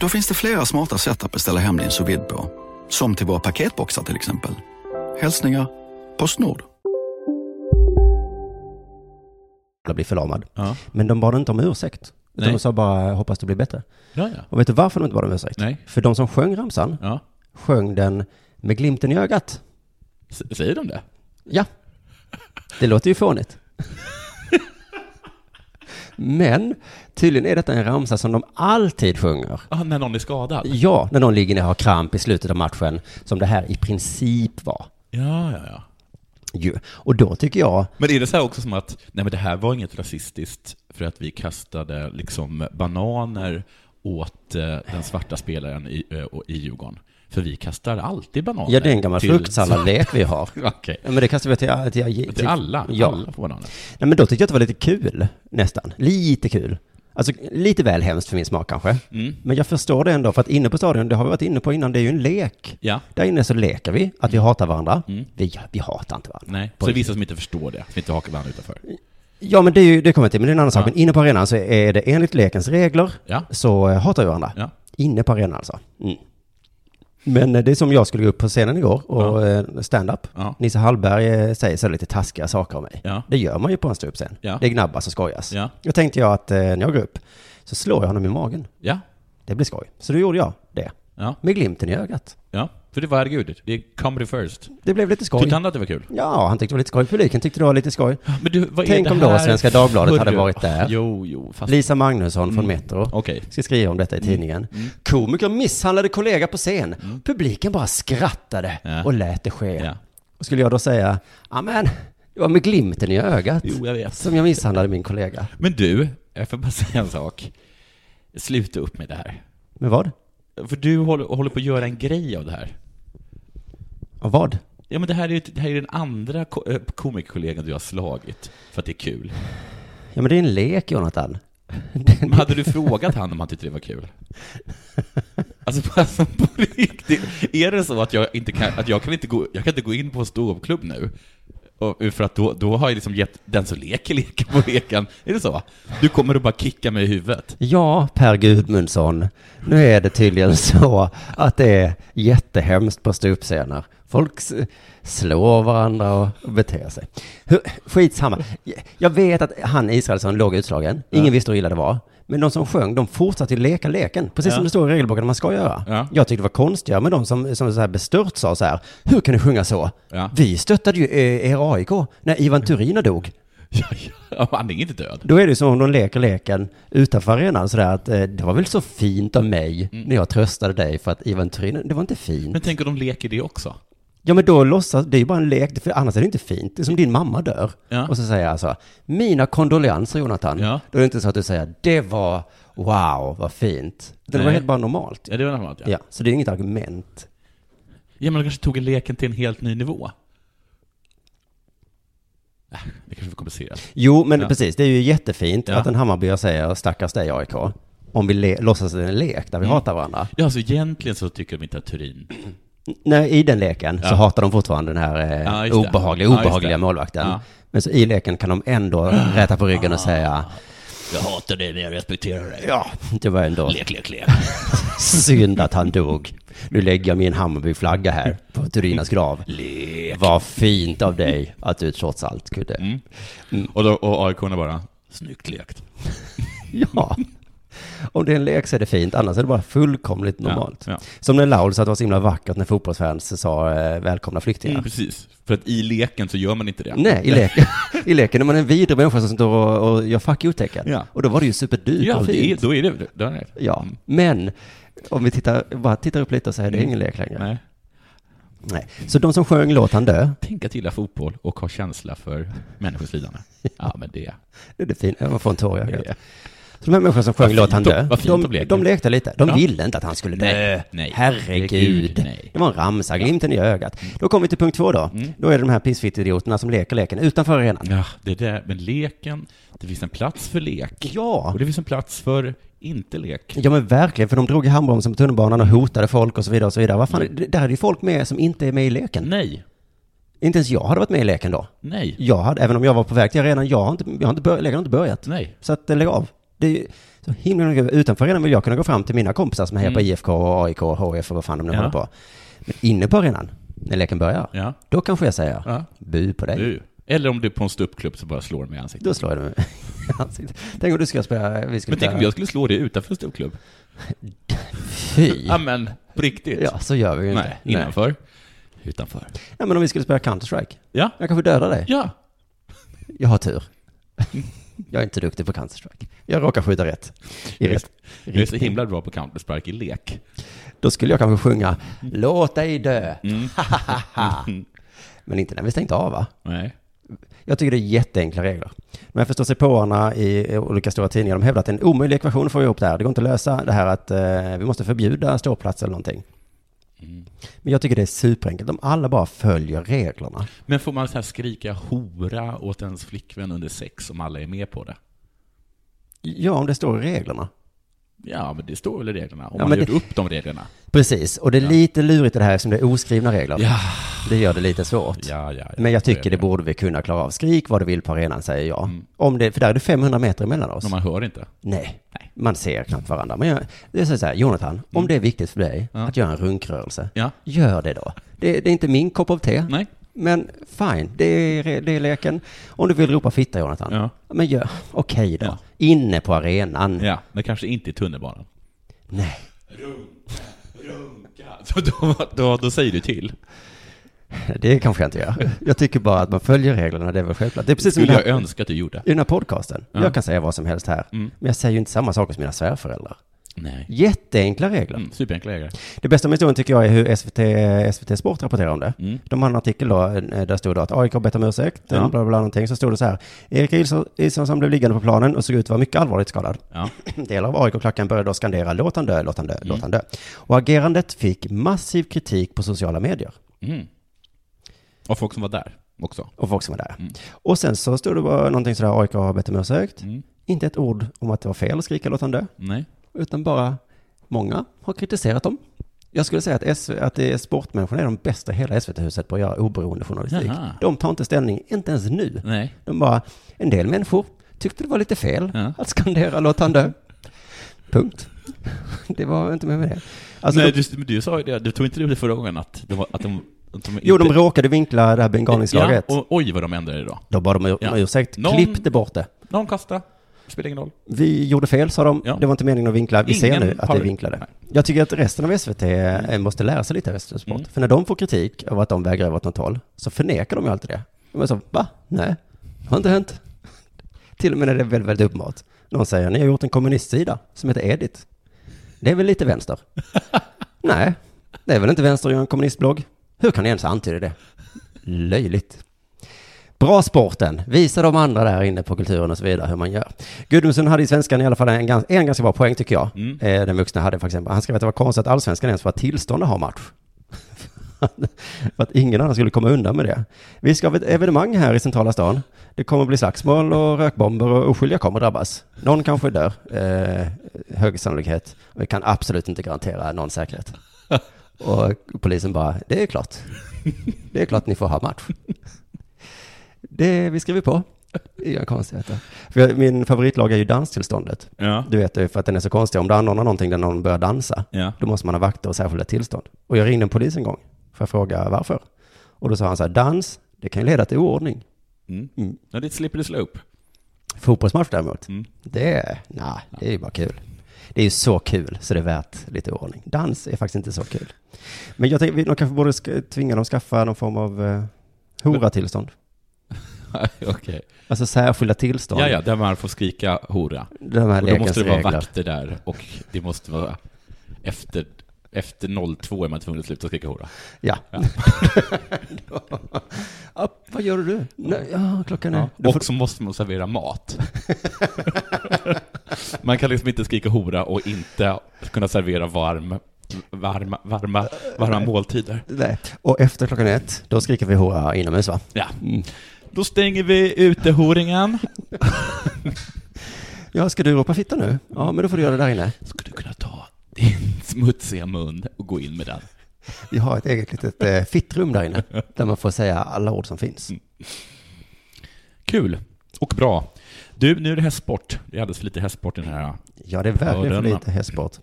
Då finns det flera smarta sätt att beställa hem din sous vide på. Som till våra paketboxar till exempel. Hälsningar Postnord. Jag blir förlamad. Ja. Men de bad inte om ursäkt. Utan Nej. de sa bara hoppas det blir bättre. Ja, ja. Och vet du varför de inte bad om ursäkt? Nej. För de som sjöng ramsan ja. sjöng den med glimten i ögat. S- Säger de det? Ja, det låter ju fånigt. Men tydligen är detta en ramsa som de alltid sjunger. Ah, när någon är skadad? Ja, när någon ligger ner och har kramp i slutet av matchen, som det här i princip var. Ja, ja, ja. Ju. Och då tycker jag, Men är det så här också som att, nej men det här var inget rasistiskt för att vi kastade liksom bananer åt eh, den svarta spelaren i, eh, och- i Djurgården? För vi kastar alltid bananer. ja det är en gammal till- fruktsalladlek vi har. Okej. Ja, Men det kastar vi till, till, till, Till alla? Ja. Alla får bananer? Nej, men då tyckte jag att det var lite kul, nästan. Lite kul. Alltså lite väl hemskt för min smak kanske. Men jag förstår det ändå, för att inne på stadion, det har vi varit inne på innan, det är ju en lek. Ja. Där inne så leker vi att vi hatar varandra. Vi, vi hatar inte varandra. Nej. På Så det är riktigt. vissa som inte förstår det, som inte hakar varandra utanför? Ja, men det, är ju, det kommer jag till, men det är en annan sak. Ja. Men inne på arenan så är det enligt lekens regler, Ja. så eh, hatar vi varandra. Ja. Inne på arenan alltså. Mm. Men eh, det är som jag skulle gå upp på scenen igår och ja. stand-up. Ja. Nisse Hallberg eh, säger så lite taskiga saker om mig. Ja. Det gör man ju på en ståuppscen. Ja. Det gnabbas och skojas. Ja. Då tänkte jag att eh, när jag går upp så slår jag honom i magen. Ja. Det blir skoj. Så då gjorde jag det. Ja. Med glimten i ögat. Ja. För det var, herregud, det är comedy first. Det blev lite skoj. Tyckte han att det var kul? Ja, han tyckte det var lite skoj. Publiken tyckte det var lite skoj. Men du, vad är Tänk det om då här? Svenska Dagbladet Hörru. hade varit där. Jo, jo, fast... Mm. Lisa Magnusson från Metro Okej. Mm. ska skriva om detta i tidningen. Komiker misshandlade kollega på scen. Publiken bara skrattade Ja. och lät det ske. Ja. Och skulle jag då säga, ja men, det var med glimten i ögat Jo, jag vet. som jag misshandlade min kollega. Men du, jag får bara säga en sak. Sluta upp med det här. Med vad? För du håller, håller på att göra en grej av det här. Av vad? Ja men det här är ju det här är ju den andra ko- eh, komikerkollegan du har slagit för att det är kul. Ja men det är en lek Jonathan. Men hade du frågat han om han tyckte det var kul? Alltså på, alltså, på riktigt, är det så att jag inte kan, att jag kan inte gå, jag kan inte gå in på en ståuppklubb nu? Och, eh, för att då, då har jag liksom gett den som leker leken på leken. Är det så? Du kommer att bara kicka mig i huvudet. Ja, Per Gudmundsson. Nu är det tydligen så att det är jättehemskt på ståuppscener. Folk s- slår varandra och beter sig. Hur- Skitsamma. Jag vet att han Israelsson låg utslagen. Ingen visste hur illa det var. Men de som sjöng, de fortsatte ju leka leken. Precis som Ja. det står i regelboken att man ska göra. Ja. Jag tyckte det var konstigare med de som, som så här bestört sa så här. Hur kan ni sjunga så? Ja. Vi stöttade ju eh, er AIK när Ivan Turina dog. Ja, ja, han är inte död. Då är det som om de leker leken utanför arenan sådär att eh, det var väl så fint av mig när jag tröstade dig för att Ivan Turin, det var inte fint. Mm. Men tänk om de leker det också? ja men då låtsas, det är ju bara en lek, för annars är det inte fint. Det är som din mamma dör. Ja. Och så säger jag så, mina kondolenser Jonathan. Ja. Då är det inte så att du säger, det var, wow, vad fint. Det var Nej. helt bara normalt. Ja, det var normalt Ja, så det är inget argument. Ja, men de kanske tog leken till en helt ny nivå. Äh, Det kanske var komplicerat. Jo, men Ja. precis, det är ju jättefint Ja. att en Hammarbyare säger, stackars dig AIK, om vi le- låtsas att det är en lek där vi hatar varandra. Ja, alltså egentligen så tycker de inte att Turin... Nej, i den leken så Ja. hatar de fortfarande den här eh, Ja, just det. obehagliga, Ja, just obehagliga det. målvakten. Ja. Men så i leken kan de ändå räta på ryggen och Ah. säga Jag hatar dig, men jag respekterar dig. ja, det var ändå Lek, lek, lek. synd att han dog. Nu lägger jag min Hammarbyflagga här på Turinas grav. lek. Vad fint av dig att du trots allt kunde. Mm. Och, då, och aik bara, snyggt lekt. Ja. Om det är en lek så är det fint, annars är det bara fullkomligt normalt. ja. Som när Laul sa att det var så himla vackert när fotbollsfans sa eh, välkomna flyktingar. Mm, precis. För att i leken så gör man inte det. Nej, i leken. I leken är man en vidrig människa som står och, och gör fuck you-tecken. Ja. Och då var det ju superdyrt Ja, och det är, fint. då är det... Då är det. Ja, Mm. men om vi tittar, bara tittar upp lite och säger det är Mm. ingen lek längre. Nej. Nej. Så de som sjöng Låt han dö, Tänk att gilla fotboll och ha känsla för människors lidande. Ja, men det... det är det fint. Jag får en tår i ögat. Ja. Så de här människorna som sjöng fint Låt han de- dö, vad fint de de, leker. de lekte lite. De Ja. ville inte att han skulle dö. Nej, nej. Herregud. Herregud, nej. Mm. Det var en ramsa, glimten i ögat. Då kommer vi till punkt två då. Då är det de här pissfittidioterna som leker leken utanför arenan. Ja, det där med leken, det finns en plats för lek. Ja. Och det finns en plats för inte lek. Ja men verkligen, för de drog i handbromsen på tunnelbanan och hotade folk och så vidare och så vidare. Vad fan, det- där är ju folk med som inte är med i leken. Nej, Inte ens jag hade varit med i leken då. nej, Jag hade, även om jag var på väg till arenan, jag har inte, jag har inte, bör, leken har inte börjat. nej. Så att eh, lägg av. Det är ju så himla mycket. Utanför arenan vill jag kunna gå fram till mina kompisar som hejar på IFK och AIK och HF och vad fan de nu Mm. Ja. håller på. Men inne på arenan, när leken börjar, Ja. då kanske jag säger Ja. bu på dig. Du. Eller om du är på en ståuppklubb så bara slår mig i ansiktet. Då slår jag dem i ansiktet. Tänk om du ska spela, vi skulle Men tänk om spela- jag skulle slå dig utanför en ståuppklubb? Fy. Ja, men på riktigt? Ja, så gör vi ju inte. Nej, innanför? Utanför. Nej, men om vi skulle spela Counter-Strike. Ja, Jag kanske dödar dig. ja. Jag har tur. Jag är inte duktig på Counter-Strike. Jag råkar skjuta rätt. I rätt. Jag är så himla bra på Counter-Strike i lek. Då skulle jag kanske sjunga Låt dig dö. Mm. men inte när vi stängt av va? Nej. Jag tycker det är jätteenkla regler. De här förståsigpåarna i olika stora tidningar, de hävdar att det är en omöjlig ekvation att få ihop det här. Det går inte att lösa det här att eh, vi måste förbjuda ståplats eller någonting. Mm. Men jag tycker det är superenkelt. De alla bara följer reglerna. Men får man så här skrika hora åt ens flickvän under sex om alla är med på det? Ja, om det står i reglerna. Ja, men det står väl i reglerna? Om Ja, man men har gjort det- upp de reglerna? Precis, och det är lite lurigt i det här som det är oskrivna regler. Ja. Det gör det lite svårt. Ja, ja, ja. Ah, Men jag tycker det borde... borde vi kunna klara av. Skrik vad du vill på arenan, säger jag. Om det, för där är det 500 meter emellan oss. Mm. Man hör inte. Nej. man ser knappt varandra. Men jag, det är så här, Jonathan, om det är viktigt för dig att göra en runkrörelse, Mm. Ja. gör det då. Det, det är inte min kopp av te. Nej. Men fine, det är, det är leken. Om du vill ropa fitta, Jonathan, Ja. men gör, okej då. Ja. Inne på arenan. Ja, men kanske inte i tunnelbanan. Nej. Så då, då, då säger du till. Det kanske jag inte gör. Jag tycker bara att man följer reglerna, det är väl självklart. Det är precis som i Skulle den jag här, önska att du gjorde. i den här podcasten. Jag kan säga vad som helst här, Mm. men jag säger ju inte samma saker som mina svärföräldrar. Nej. Jätteenkla regler. Mm, superenkla ägare. Det bästa med historien tycker jag är hur SVT, SVT Sport rapporterar om det. Mm. De hade en artikel då, eh, där stod det att AIK har bett om ursäkt, ja. bla, bla, bla, någonting. Så stod det så här, Erik Ilsson, Ilsson som blev liggande på planen och såg ut att vara mycket allvarligt skadad. Ja. Mm. Delar av AIK-klacken började då skandera låt han dö, låt han dö, låt han dö. Och agerandet fick massiv kritik på sociala medier. Och folk som var där också. Och folk som var Mm. där. Och sen så stod det bara någonting sådär, AIK har bett om ursäkt. Mm. Inte ett ord om att det var fel att skrika låt han dö. Nej. utan bara många har kritiserat dem. Jag skulle säga att, S- att det är sportmänniskorna är de bästa i hela SVT-huset på att göra oberoende journalistik. Jaha. De tar inte ställning, inte ens nu. Nej. De bara, en del människor tyckte det var lite fel Ja. att skandera låt han dö. Punkt. Det var inte mer med det. Alltså, Nej, de, du, men du sa ju det, du tog inte du det förra gången att de, var- att de, att de jo, de inte- råkade vinkla det här bengalningslaget. Ja, och oj vad de ändrade idag. Då bad de om Ja. ursäkt, Någon- klippte bort det. Någon kasta, spelar ingen roll. Vi gjorde fel, sa de. Ja. Det var inte meningen att vinkla. Vi Ingen ser nu att det har- är vinklade. Nej. Jag tycker att resten av SVT eh, måste lära sig lite av SVT Mm. Sport. För när de får kritik av att de vägrar över åt något håll, så förnekar de ju alltid det. De är så, va? Nej, har inte hänt. Till och med när det är väldigt, väldigt uppenbart. Någon säger, ni har gjort en kommunistsida som heter Edit. Det är väl lite vänster? Nej, det är väl inte vänster att göra en kommunistblogg? Hur kan ni ens antyda det? Löjligt. Bra sporten. Visa de andra där inne på kulturen och så vidare hur man gör. Gudmundsson hade i svenskan i alla fall en, gans, en ganska bra poäng tycker jag. Eh, den vuxna hade faktiskt en, Han skrev att det var konstigt att allsvenskan ens var tillstånd att ha match. För att ingen annan skulle komma undan med det. Vi ska ha ett evenemang här i centrala stan. Det kommer bli slagsmål och rökbomber och oskyldiga kommer drabbas. Någon kanske dör. Eh, hög sannolikhet. Vi kan absolut inte garantera någon säkerhet. Och polisen bara, det är klart. Det är klart ni får ha match. Det vi skriver på. Inga konstigheter. För jag, min favoritlag är ju danstillståndet. Ja. Du vet det, för att den är så konstig. Om du anordnar någonting där någon börjar dansa, Ja. då måste man ha vakter och särskilda tillstånd. Och jag ringde en polis en gång för att fråga varför. Och då sa han så här, dans, det kan ju leda till oordning. Mm. Ja, det är ett slippery slope. Fotbollsmatch däremot, Mm. det, nah, det är ju bara kul. Det är ju så kul, så det är värt lite ordning. Dans är faktiskt inte så kul. Men jag tänker, vi- de kanske borde sk- tvinga dem att skaffa någon form av eh, hora-tillstånd. Okej. Alltså särskilda tillstånd. Ja, ja, där man får skrika hora. De här Och då måste lekens det vara regler. vakter där och det måste vara efter, efter 02 är man tvungen att sluta skrika hora. Ja. ja. Vad gör du? Nej, ja, klockan är... Och så måste man servera mat. Man kan liksom inte skrika hora och inte kunna servera varm, varma, varma, varma måltider. Nej. Och efter klockan ett, då skriker vi hurra inomhus va? Ja. Då stänger vi utehoringen. Ja, ska du ropa fitta nu? Ja, men då får du göra det där inne. Skulle du kunna ta din smutsiga mun och gå in med den? Vi har ett eget litet eh, fittrum där inne, där man får säga alla ord som finns. Kul och bra. Du, nu är det hästsport. Det är alldeles för lite hästsport i den här. Ja, det är verkligen för Hörderna. lite hästsport.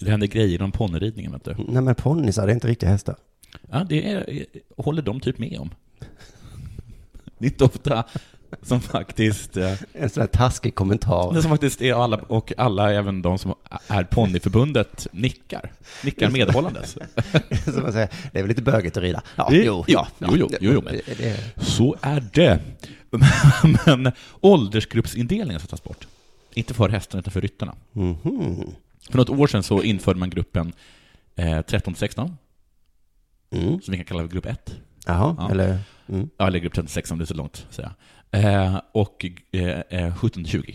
Det händer grejer om ponnyridningen, vet du. Nej, men ponnisar, det är inte riktiga hästar. Ja, det är, håller de typ med om. Det är inte ofta som faktiskt, eh, En sån här taskig kommentar. det som faktiskt är alla, och alla, även de som är ponnyförbundet, nickar. Nickar medhållandes. Som man säger, det är väl lite bögigt att rida. Ja, Det- ja, jo, jo, jo, jo, men- Det- det- Så är det. Men åldersgruppsindelningen ska tas bort. Inte för hästarna, utan för ryttarna. Mhm. För något år sedan så införde man gruppen eh, 13-16, Mm. som vi kan kalla för grupp 1. Jaha, Ja. eller? Mm. Ja, eller grupp 36 om det är så långt, säger jag. Eh, och eh, eh, 17-20.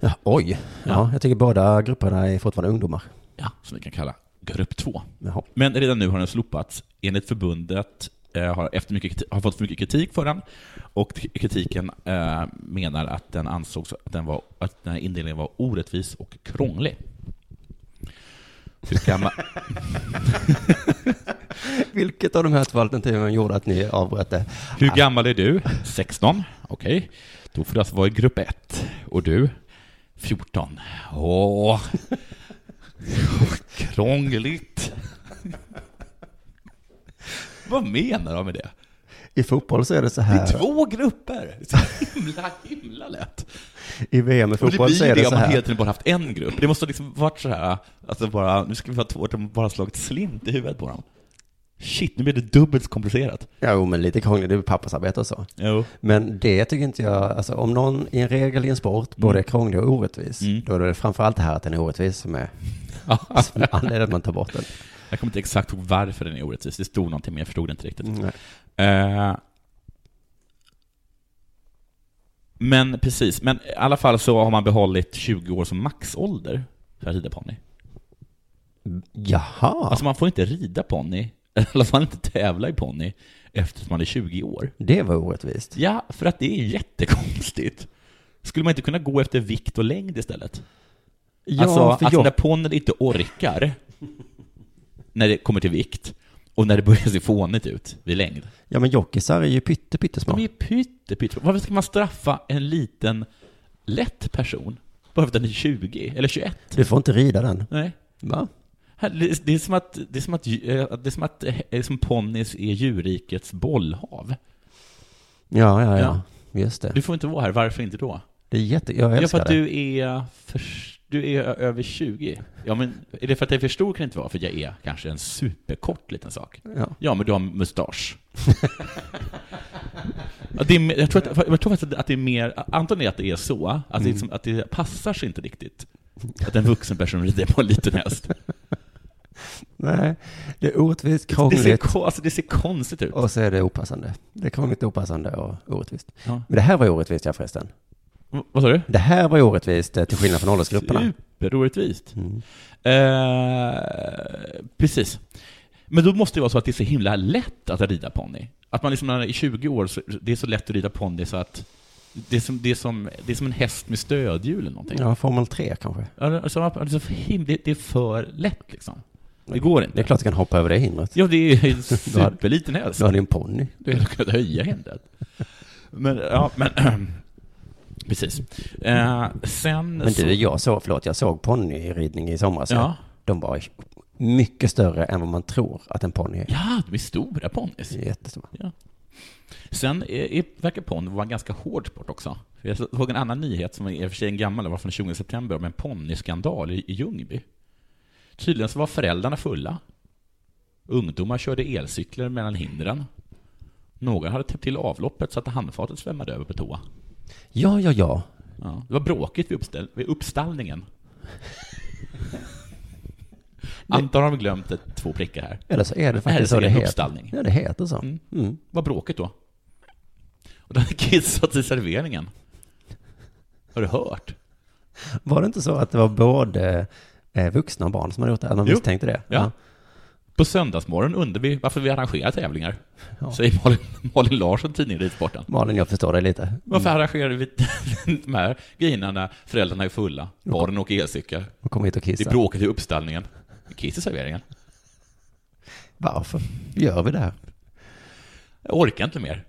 Ja, oj. Ja, jag tycker båda grupperna är fortfarande ungdomar. Ja, som vi kan kalla grupp 2. Jaha. Men redan nu har den slopats. Enligt förbundet eh, har, efter mycket, kriti- har fått för mycket kritik för den. Och t- kritiken eh, menar att den ansågs att den, var, att den här indelningen var orättvis och krånglig. Hur kan man... Vilket av de här två alternativen gjorde att ni avbröt det? Hur gammal är du? 16. Okej. Då får du alltså vara i grupp 1. Och du? 14. Åh. Krångligt. Vad menar de med det? I fotboll så är det så Det är här. två grupper. Så himla, himla lätt. I VM i Och det blir fotboll så ju är det det om så man hela här. tiden bara haft en grupp. Det måste liksom varit så här, alltså bara, nu ska vi vara två, de har bara slagit slint i huvudet på dem. Shit, nu blir det dubbelt så komplicerat. Ja, jo, men lite krångligt. Det är pappersarbete och så. Jo. Men det tycker inte jag, alltså om någon i en regel i en sport både är krånglig och orättvis, då är det framförallt det här att den är orättvis som är som är anledningen att man tar bort den. Jag kommer inte exakt ihåg varför den är orättvis. Det stod någonting, men jag förstod det inte riktigt. Nej. Eh, men precis, men i alla fall så har man behållit 20 år som maxålder för att rida ponny. Jaha, Alltså man får inte rida ponny, eller man får inte tävla i ponny efter att man är 20 år. det var orättvist. Ja, för att det är jättekonstigt. Skulle man inte kunna gå efter vikt och längd istället? Ja, alltså, för att jag- när ponnen inte orkar när det kommer till vikt och när det börjar se fånigt ut vid längd. Ja, men jockisar är ju pytte, pyttesmå. De är pytte, pytte. Varför ska man straffa en liten lätt person bara för att den är 20 eller 21? Du får inte rida den. Nej. Va? Här, Det det är som att, det är som att, eh, det är som att, eh, det är som ponnys är djurrikets bollhav. Ja, ja, ja. Ja. Just det. Du får inte vara här, varför inte då? Det är jätte... Jag Ja, för älskar att det. du är, för, du är ö- över 20. Ja, men är det för att jag är för stor kan det inte vara, för jag är kanske en superkort liten sak. Ja. Ja, men du har mustasch. Ja, det är, jag tror, att, jag tror faktiskt att det är mer, antagligen att det är så, att, det, liksom, att det passar sig inte riktigt. Att en vuxen person rider på en liten häst. Nej, det är orättvist, Det ser, krångligt ko- alltså, det ser konstigt ut. och så är det opassande. Det är krångligt, opassande och orättvist. Ja. Men det här var ju orättvist, ja förresten. V- Vad sa du? Det här var ju orättvist eh, till skillnad från åldersgrupperna. Superorättvist. Mm. Eh, precis. Men då måste det vara så att det är så himla lätt att rida ponny. Att man liksom när man är i 20 år, så, det är så lätt att rida ponny så att det är som, det är som, det är som en häst med stödhjul eller någonting. Ja, Formel 3 kanske. Alltså, man- alltså, för him- det det är för lätt liksom. Det går inte. Det är klart du kan hoppa över det hindret. Ja, det är ju en superliten häst. Du hade ju en ponny. Du hade kunnat höja hindret. Men, ja, men... precis. Eh, sen... Men så- du, jag såg, förlåt, jag såg ponnyridning i somras. Ja. De var mycket större än vad man tror att en ponny är. Ja, de är stora ponnys. Jättestora. Sen är, är, verkar ponny vara en ganska hård sport också. Jag såg en annan nyhet som är i och för sig en gammal, den var från 20 september, om en ponnyskandal i, i Ljungby. Tydligen så var föräldrarna fulla. Ungdomar körde elcyklar mellan hindren. Några hade täppt till avloppet så att handfatet svämmade över på toa. Ja, ja, ja. Ja. Det var bråkigt vid, uppställ- vid uppstallningen. Antar de glömt ett, två prickar här. Eller så är det faktiskt så så är det det en heter. uppstallning. Ja, det heter så. Mm. Vad bråkigt då. Och det hade kissat i serveringen. Har du hört? Var det inte så att det var både eh, vuxna och barn som hade gjort det? Eller de Jo. misstänkte det? Ja. På söndagsmorgon undrar vi varför vi arrangerar tävlingar, Ja. säger Malin, Malin Larsson, tidningen Ridsporten. Malin, jag förstår dig lite. Varför arrangerar vi de här grejerna när föräldrarna är fulla, barnen åker elcykel, Och kom hit och det är kissa. bråkigt i uppställningen, kiss i serveringen. Varför gör vi det här? Jag orkar inte mer.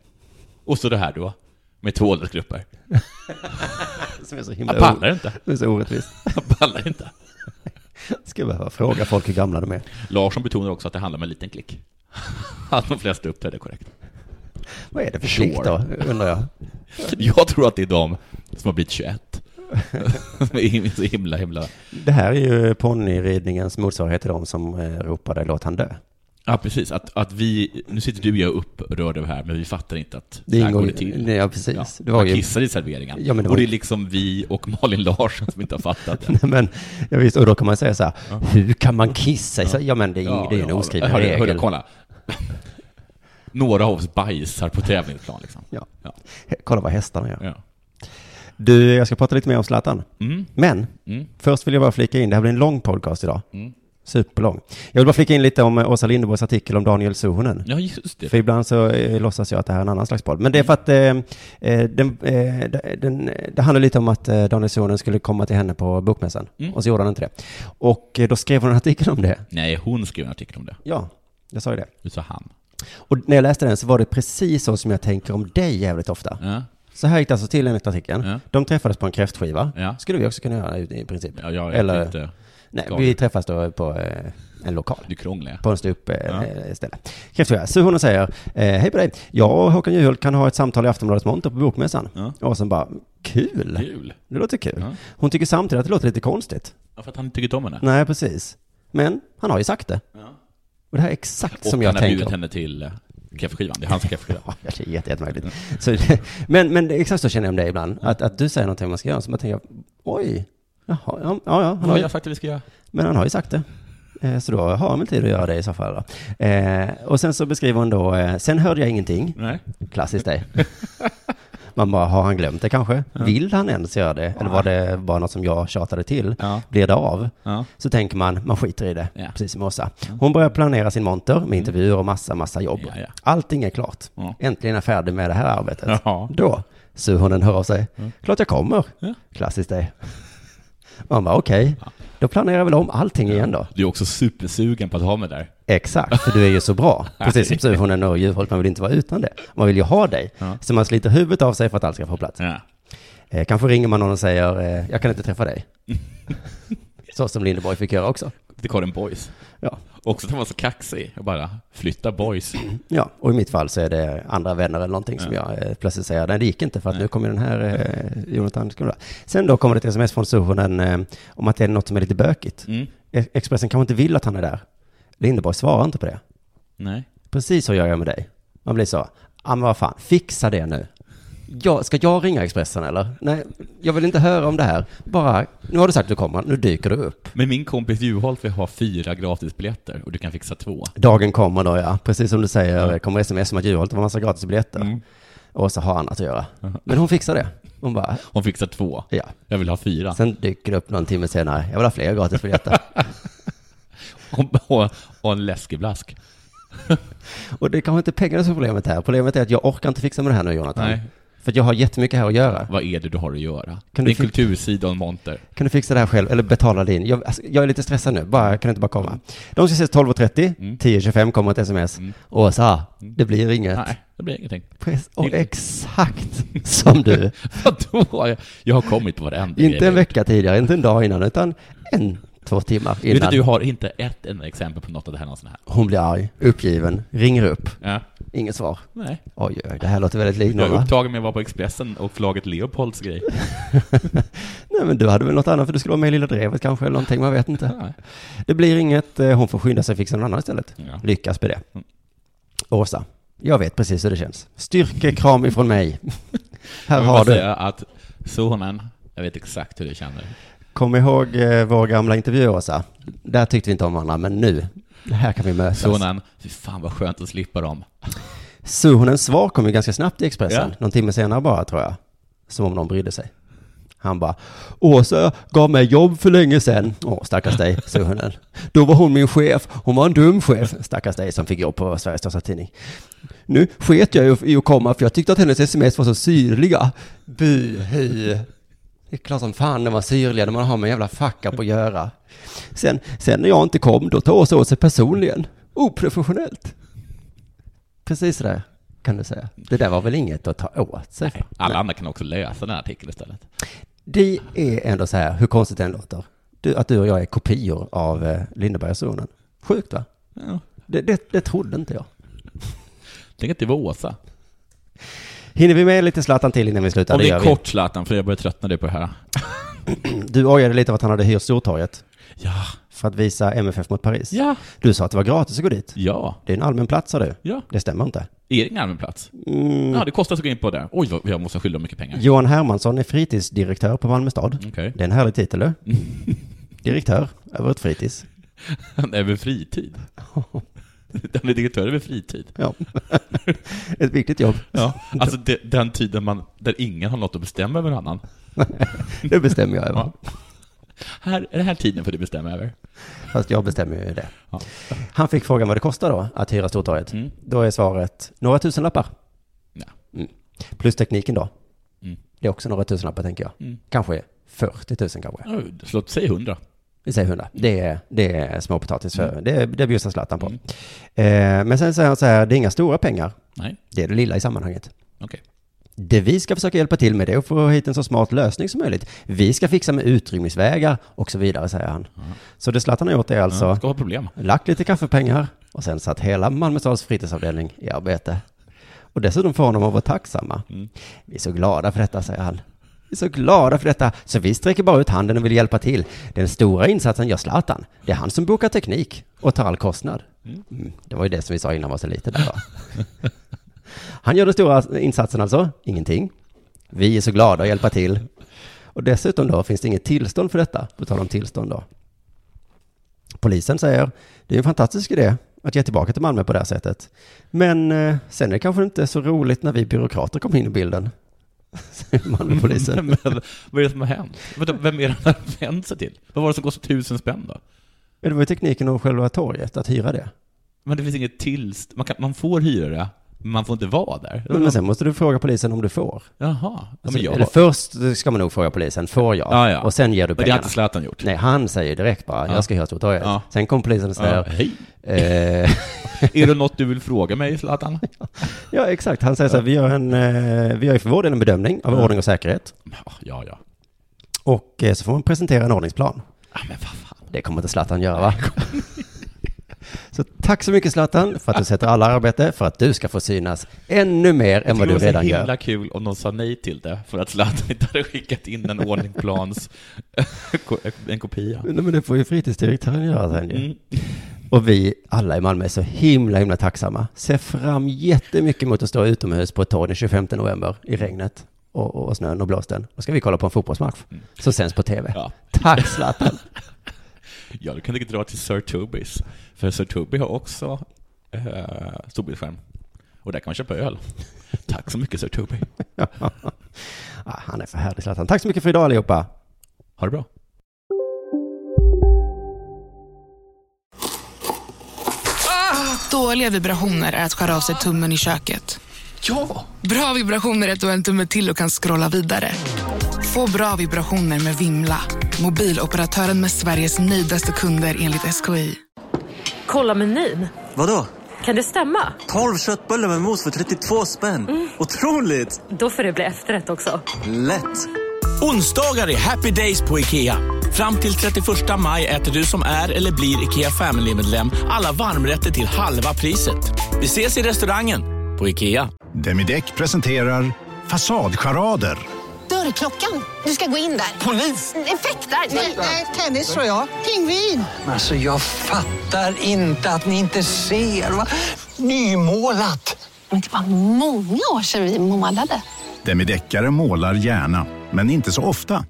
Och så det här då, med två åldersgrupper. Som är så himla Jag pallar inte. Det är så orättvist. Jag pallar inte. Ska jag behöva fråga folk hur gamla de är. Larsson betonar också att det handlar om en liten klick. Att de flesta uppträdde korrekt. Vad är det för Sure. klick då, undrar jag. Jag tror att det är de som har blivit 21. Som är så himla, himla... Det här är ju ponnyridningens motsvarighet till de som eh, ropade låt han dö. Ja, precis. Att, att vi... Nu sitter du och jag upprörd över det här, men vi fattar inte att Det det här går ingår det till. Nej, ja, precis. Ja, Det var man ju... kissar i serveringen. Ja, men det och var det ju- är liksom vi och Malin Larsson som inte har fattat det. Nej, men, ja, visst, och då kan man säga så här, hur kan man kissa? Ja, ja men det är ju det är ju en oskriven hörru, regel. Hörru, kolla. Några av oss bajsar på tävlingsplan liksom. Ja. Ja. He- kolla vad hästarna gör. Ja. Du, jag ska prata lite mer om Zlatan. Mm. Men Mm. först vill jag bara flika in, det här blir en lång podcast idag. Superlång. Jag vill bara flika in lite om eh, Åsa Linderborgs artikel om Daniel Suhonen. ja, just det. Mm. För ibland så eh, låtsas jag att det här är en annan slags podd. Men det är för att eh, eh, den, eh, den, det handlar lite om att eh, Daniel Suhonen skulle komma till henne på bokmässan. Mm. Och så gjorde han inte det. Och eh, då skrev hon en artikel om det. Nej, hon skrev en artikel om det. Ja, jag sa ju det. Du sa han. Och när jag läste den så var det precis så som jag tänker om dig jävligt ofta. Ja. Så här gick det alltså till enligt artikeln. Ja. De träffades på en kräftskiva. Ja. Skulle vi också kunna göra i i princip. Ja, jag vet Eller- inte. Nej, Galet. vi träffas då på eh, en lokal. Du krånglar. på en stup eh, Ja. eh, ställe. Kräftskiva. Så hon säger, eh, hej på dig. Jag och Håkan Juholt kan ha ett samtal i Aftonbladets monter på Bokmässan. Ja. Och sen bara, kul. Kul. Det låter kul. Ja. Hon tycker samtidigt att det låter lite konstigt. Ja, för att han inte tyckte om henne. Nej, precis. Men han har ju sagt det. Och det här är exakt Och som han jag har bjudit tänker. henne till eh, kräftskivan. Det är hans kräftskiva. Ja, det är jätte- jättemärkligt. Så det- Men, men det är exakt så känner jag om dig ibland. Att, att du säger någonting man ska göra, så man tänker, oj, jaha, ja, ja, ja, han Vad har har ju jag sagt att vi ska göra? Men han har ju sagt det. Eh, Så då har han väl tid att göra det i så fall. Då. Eh, och sen så beskriver hon då, eh, sen hörde jag ingenting. Nej. Klassiskt dig. Man bara, har han glömt det kanske? Vill han ens göra det? Eller var det bara något som jag tjatade till? Ja. Blir det av? Ja. Så tänker man, man skiter i det. Ja. Mm. Precis som Åsa. Hon börjar planera sin monter med intervjuer och massa, massa jobb. Ja, ja. Allting är klart. Ja. Äntligen är jag färdig med det här arbetet. Jaha. Då, surhunden hör av sig. Klart jag kommer. Mm. Ja. Klassiskt dig. Man bara, okej. Då planerar jag väl om allting igen då. Du är också supersugen på att ha mig där. Exakt, för du är ju så bra. Precis som surhunden och djurfolk, man vill inte vara utan det. Man vill ju ha dig. Så man sliter huvudet av sig för att allt ska få plats. Ja. Eh, kanske ringer man någon och säger, eh, jag kan inte träffa dig. så som Lindeborg fick göra också. Det är Karin Boys. Ja. Också att han var så kaxig och bara flytta boys. ja, och i mitt fall så är det andra vänner eller någonting som jag eh, plötsligt säger, nej det gick inte för att nu kommer den här eh, Jonathan. skulle vara." Sen då kommer det ett sms från surhunden eh, om att det är något som är lite bökigt. Mm. E- Expressen kanske inte vill att han är där. Lindeborg svarar inte på det. Nej. Precis så gör jag med dig. Man blir så, ja men vad fan, fixa det nu. Jag, ska jag ringa Expressen eller? Nej, jag vill inte höra om det här. Bara, nu har du sagt att du kommer, nu dyker du upp. Men min kompis Juholt vill ha fyra gratisbiljetter och du kan fixa två. Dagen kommer då ja, precis som du säger, det kommer sms om att Juholt har en massa gratisbiljetter. Och så har han att göra. Men hon fixar det. Hon bara, Hon fixar två. ja. Jag vill ha fyra. Sen dyker det upp någon timme senare, jag vill ha fler gratisbiljetter. Och, och, och en läskeblask. och det är kanske inte pengarna som är problemet här. Problemet är att jag orkar inte fixa med det här nu Jonathan. Nej. För att jag har jättemycket här att göra. Vad är det du har att göra? Kan Kan du Din fi- kultursida och en monter. Kan du fixa det här själv? Eller betala din? Jag, alltså, jag är lite stressad nu. Bara, kan du inte bara komma? De ska ses 12.30. 10.25 kommer ett sms. Åsa, det blir inget. Nej, det blir ingenting. Press- Och exakt som du. Vadå? Jag- Jag har kommit på varenda inte grej. en vecka tidigare, inte en dag innan, utan en, två timmar Du, vet att innan. du har inte ett enda exempel på något av det här någonsin här. Hon blir arg, uppgiven, ringer upp. Ja. Inget svar. Nej. Oj, oj, det här låter väldigt Jag likt någon, är va? upptagen med att vara på Expressen och förlaget Leopolds grej. Nej, men du hade väl något annat, för du skulle vara med i Lilla Drevet kanske, eller någonting, man vet inte. Nej. Det blir inget, eh, hon får skynda sig och fixa någon annan istället. Ja. Mm. Lyckas med det. Åsa, jag vet precis hur det känns. Styrkekram ifrån mig. Här Jag vill bara har du. säga att sonen, jag vet exakt hur du känner. Kom ihåg eh, vår gamla intervju, Åsa. Där tyckte vi inte om varandra, men nu, här kan vi mötas. Sonen, fy fan vad skönt att slippa dem. Suhonens svar kom ju ganska snabbt i Expressen, Ja. någon timme senare bara tror jag. Som om någon brydde sig. Han bara, Åsa gav mig jobb för länge sedan. Åh, stackars dig, sa hunden. Då var hon min chef. Hon var en dum chef. Stackars dig som fick jobb på Sveriges största tidning. Nu sket jag i att komma för jag tyckte att hennes sms var så syrliga. Buhy. Det är klart som fan de var syrliga när man har med en jävla fuck up att göra. Sen, sen när jag inte kom, då tar Åsa åt sig personligen. Oprofessionellt. Precis det där kan du säga. Det där var väl inget att ta åt sig för. Alla andra kan också läsa den här artikeln istället. Det är ändå så här, hur konstigt det än låter, du, att du och jag är kopior av eh, Lindebergssonen. Sjukt va? Ja. Det, det, det trodde inte jag. Tänk att det var Åsa. Hinner vi med lite Zlatan till innan vi slutar? Om det gör är vi. kort Zlatan, för jag börjar tröttna dig på det här. Du ojade lite av att han hade hyrt Stortorget Ja. för att visa MFF mot Paris. Ja. Du sa att det var gratis att gå dit. Ja. Det är en allmän plats sa du. Ja. Det stämmer inte. Är det ingen allmän plats? Mm. Ja, det kostar att gå in på det. Oj, vad- jag måste skylda mycket pengar. Johan Hermansson är fritidsdirektör på Malmö stad. Okej. Det är en härlig titel du. Direktör över ett fritids. Han är väl fritid? Han är direktör över fritid. Ja. ett viktigt jobb. Ja, alltså de, den tiden man, där ingen har något att bestämma över någon annan. Det bestämmer jag över. Ja. Här, är det här tiden för du bestämmer över? Fast jag bestämmer ju det. Ja. Han fick frågan vad det kostar då att hyra Stortorget. Mm. Då är svaret några tusenlappar. Ja. Mm. Plus tekniken då. Mm. Det är också några tusenlappar tänker jag. Mm. Kanske 40 000 kanske. Oj, Så låt säga hundra. Vi säger 100. Det är, det är småpotatis. För, Det, det bjussar Zlatan på. Mm. Eh, men sen säger han så här, det är inga stora pengar. Nej, Det är det lilla i sammanhanget. okej. Det vi ska försöka hjälpa till med det är att få hit en så smart lösning som möjligt. Vi ska fixa med utrymningsvägar och så vidare, säger han. Så det Zlatan har gjort är alltså Ska ha problem. lagt lite kaffepengar och sen satt hela Malmö stads fritidsavdelning i arbete. Och dessutom får honom att vara tacksamma. Vi är så glada för detta, säger han. Vi är så glada för detta, så vi sträcker bara ut handen och vill hjälpa till. Den stora insatsen gör Zlatan. Det är han som bokar teknik och tar all kostnad. Mm. Det var ju det som vi sa innan var så lite där va? Han gör den stora insatsen alltså, ingenting. Vi är så glada att hjälpa till. Och dessutom då finns det inget tillstånd för detta, på tal om tillstånd då. Polisen säger, det är en fantastisk idé att ge tillbaka till Malmö på det här sättet. Men eh, sen är det kanske inte så roligt när vi byråkrater kommer in i bilden. Säger Malmöpolisen. Men vad är det som har hänt? Vänta, Vem är det han har vänt sig till? Vad var det som kostade tusen spänn då? Ja, det var ju tekniken och själva torget, att hyra det. Men det finns inget tillst... Man, kan, man får hyra det, men man får inte vara där. Men sen måste du fråga polisen om du får. Jaha. Ja, men Alltså, jag... Eller först ska man nog fråga polisen, får jag? Ja, ja. Och sen ger du Men det har pengarna. inte Zlatan gjort. Nej, han säger direkt bara, jag ska hyra Stortorget. Typ. Ja. Sen kom polisen och Ja, säger, hej. eh, Är det något du vill fråga mig, Zlatan? ja exakt, han säger så här, vi gör, en, eh, vi gör ju för vår del en bedömning av ordning och säkerhet. Ja, ja. ja. Och eh, så får man presentera en ordningsplan. Ah, men vad fan. Det kommer inte Zlatan göra va? Så tack så mycket Zlatan för att du sätter alla i arbete för att du ska få synas ännu mer än vad det vore du så redan himla gör. kul om någon sa nej till det för att Zlatan inte hade skickat in en ordningsplans en kopia. Nej, men det får ju fritidsdirektören göra sen ju. Mm. Och vi alla i Malmö är så himla, himla tacksamma. Ser fram jättemycket mot att stå utomhus på ett torg den 25 november i regnet och, och snön och blåsten. Då ska vi kolla på en fotbollsmatch som sänds på tv. Ja. Tack Zlatan! ja, du kan inte dra till Sir Tobis, för Sir Toby har också eh, storbildsskärm. Och där kan man köpa öl. Tack så mycket Sir Toby. ah, han är för härlig Zlatan. Tack så mycket för idag allihopa! Ha det bra. Dåliga vibrationer är att skära av sig tummen i köket. Ja! Bra vibrationer är att du har en tumme till och kan scrolla vidare. Få bra vibrationer med Vimla. Mobiloperatören med Sveriges nöjdaste kunder enligt SKI. Kolla menyn. Vadå? Kan det stämma? Mm. 12 köttbullar med mos för 32 spänn. Otroligt! Då får det bli efterrätt också. Lätt! Onsdagar är happy days på IKEA. Fram till 31 maj äter du som är eller blir IKEA Family-medlem alla varmrätter till halva priset. Vi ses i restaurangen på IKEA. Demideck presenterar Fasadcharader. Dörrklockan. Du ska gå in där. Polis? Effektar? Nej, tennis tror jag. Pingvin. Alltså, jag fattar inte att ni inte ser. Va? Nymålat! Men det var många år sedan vi målade. Demideckare målar gärna, men inte så ofta.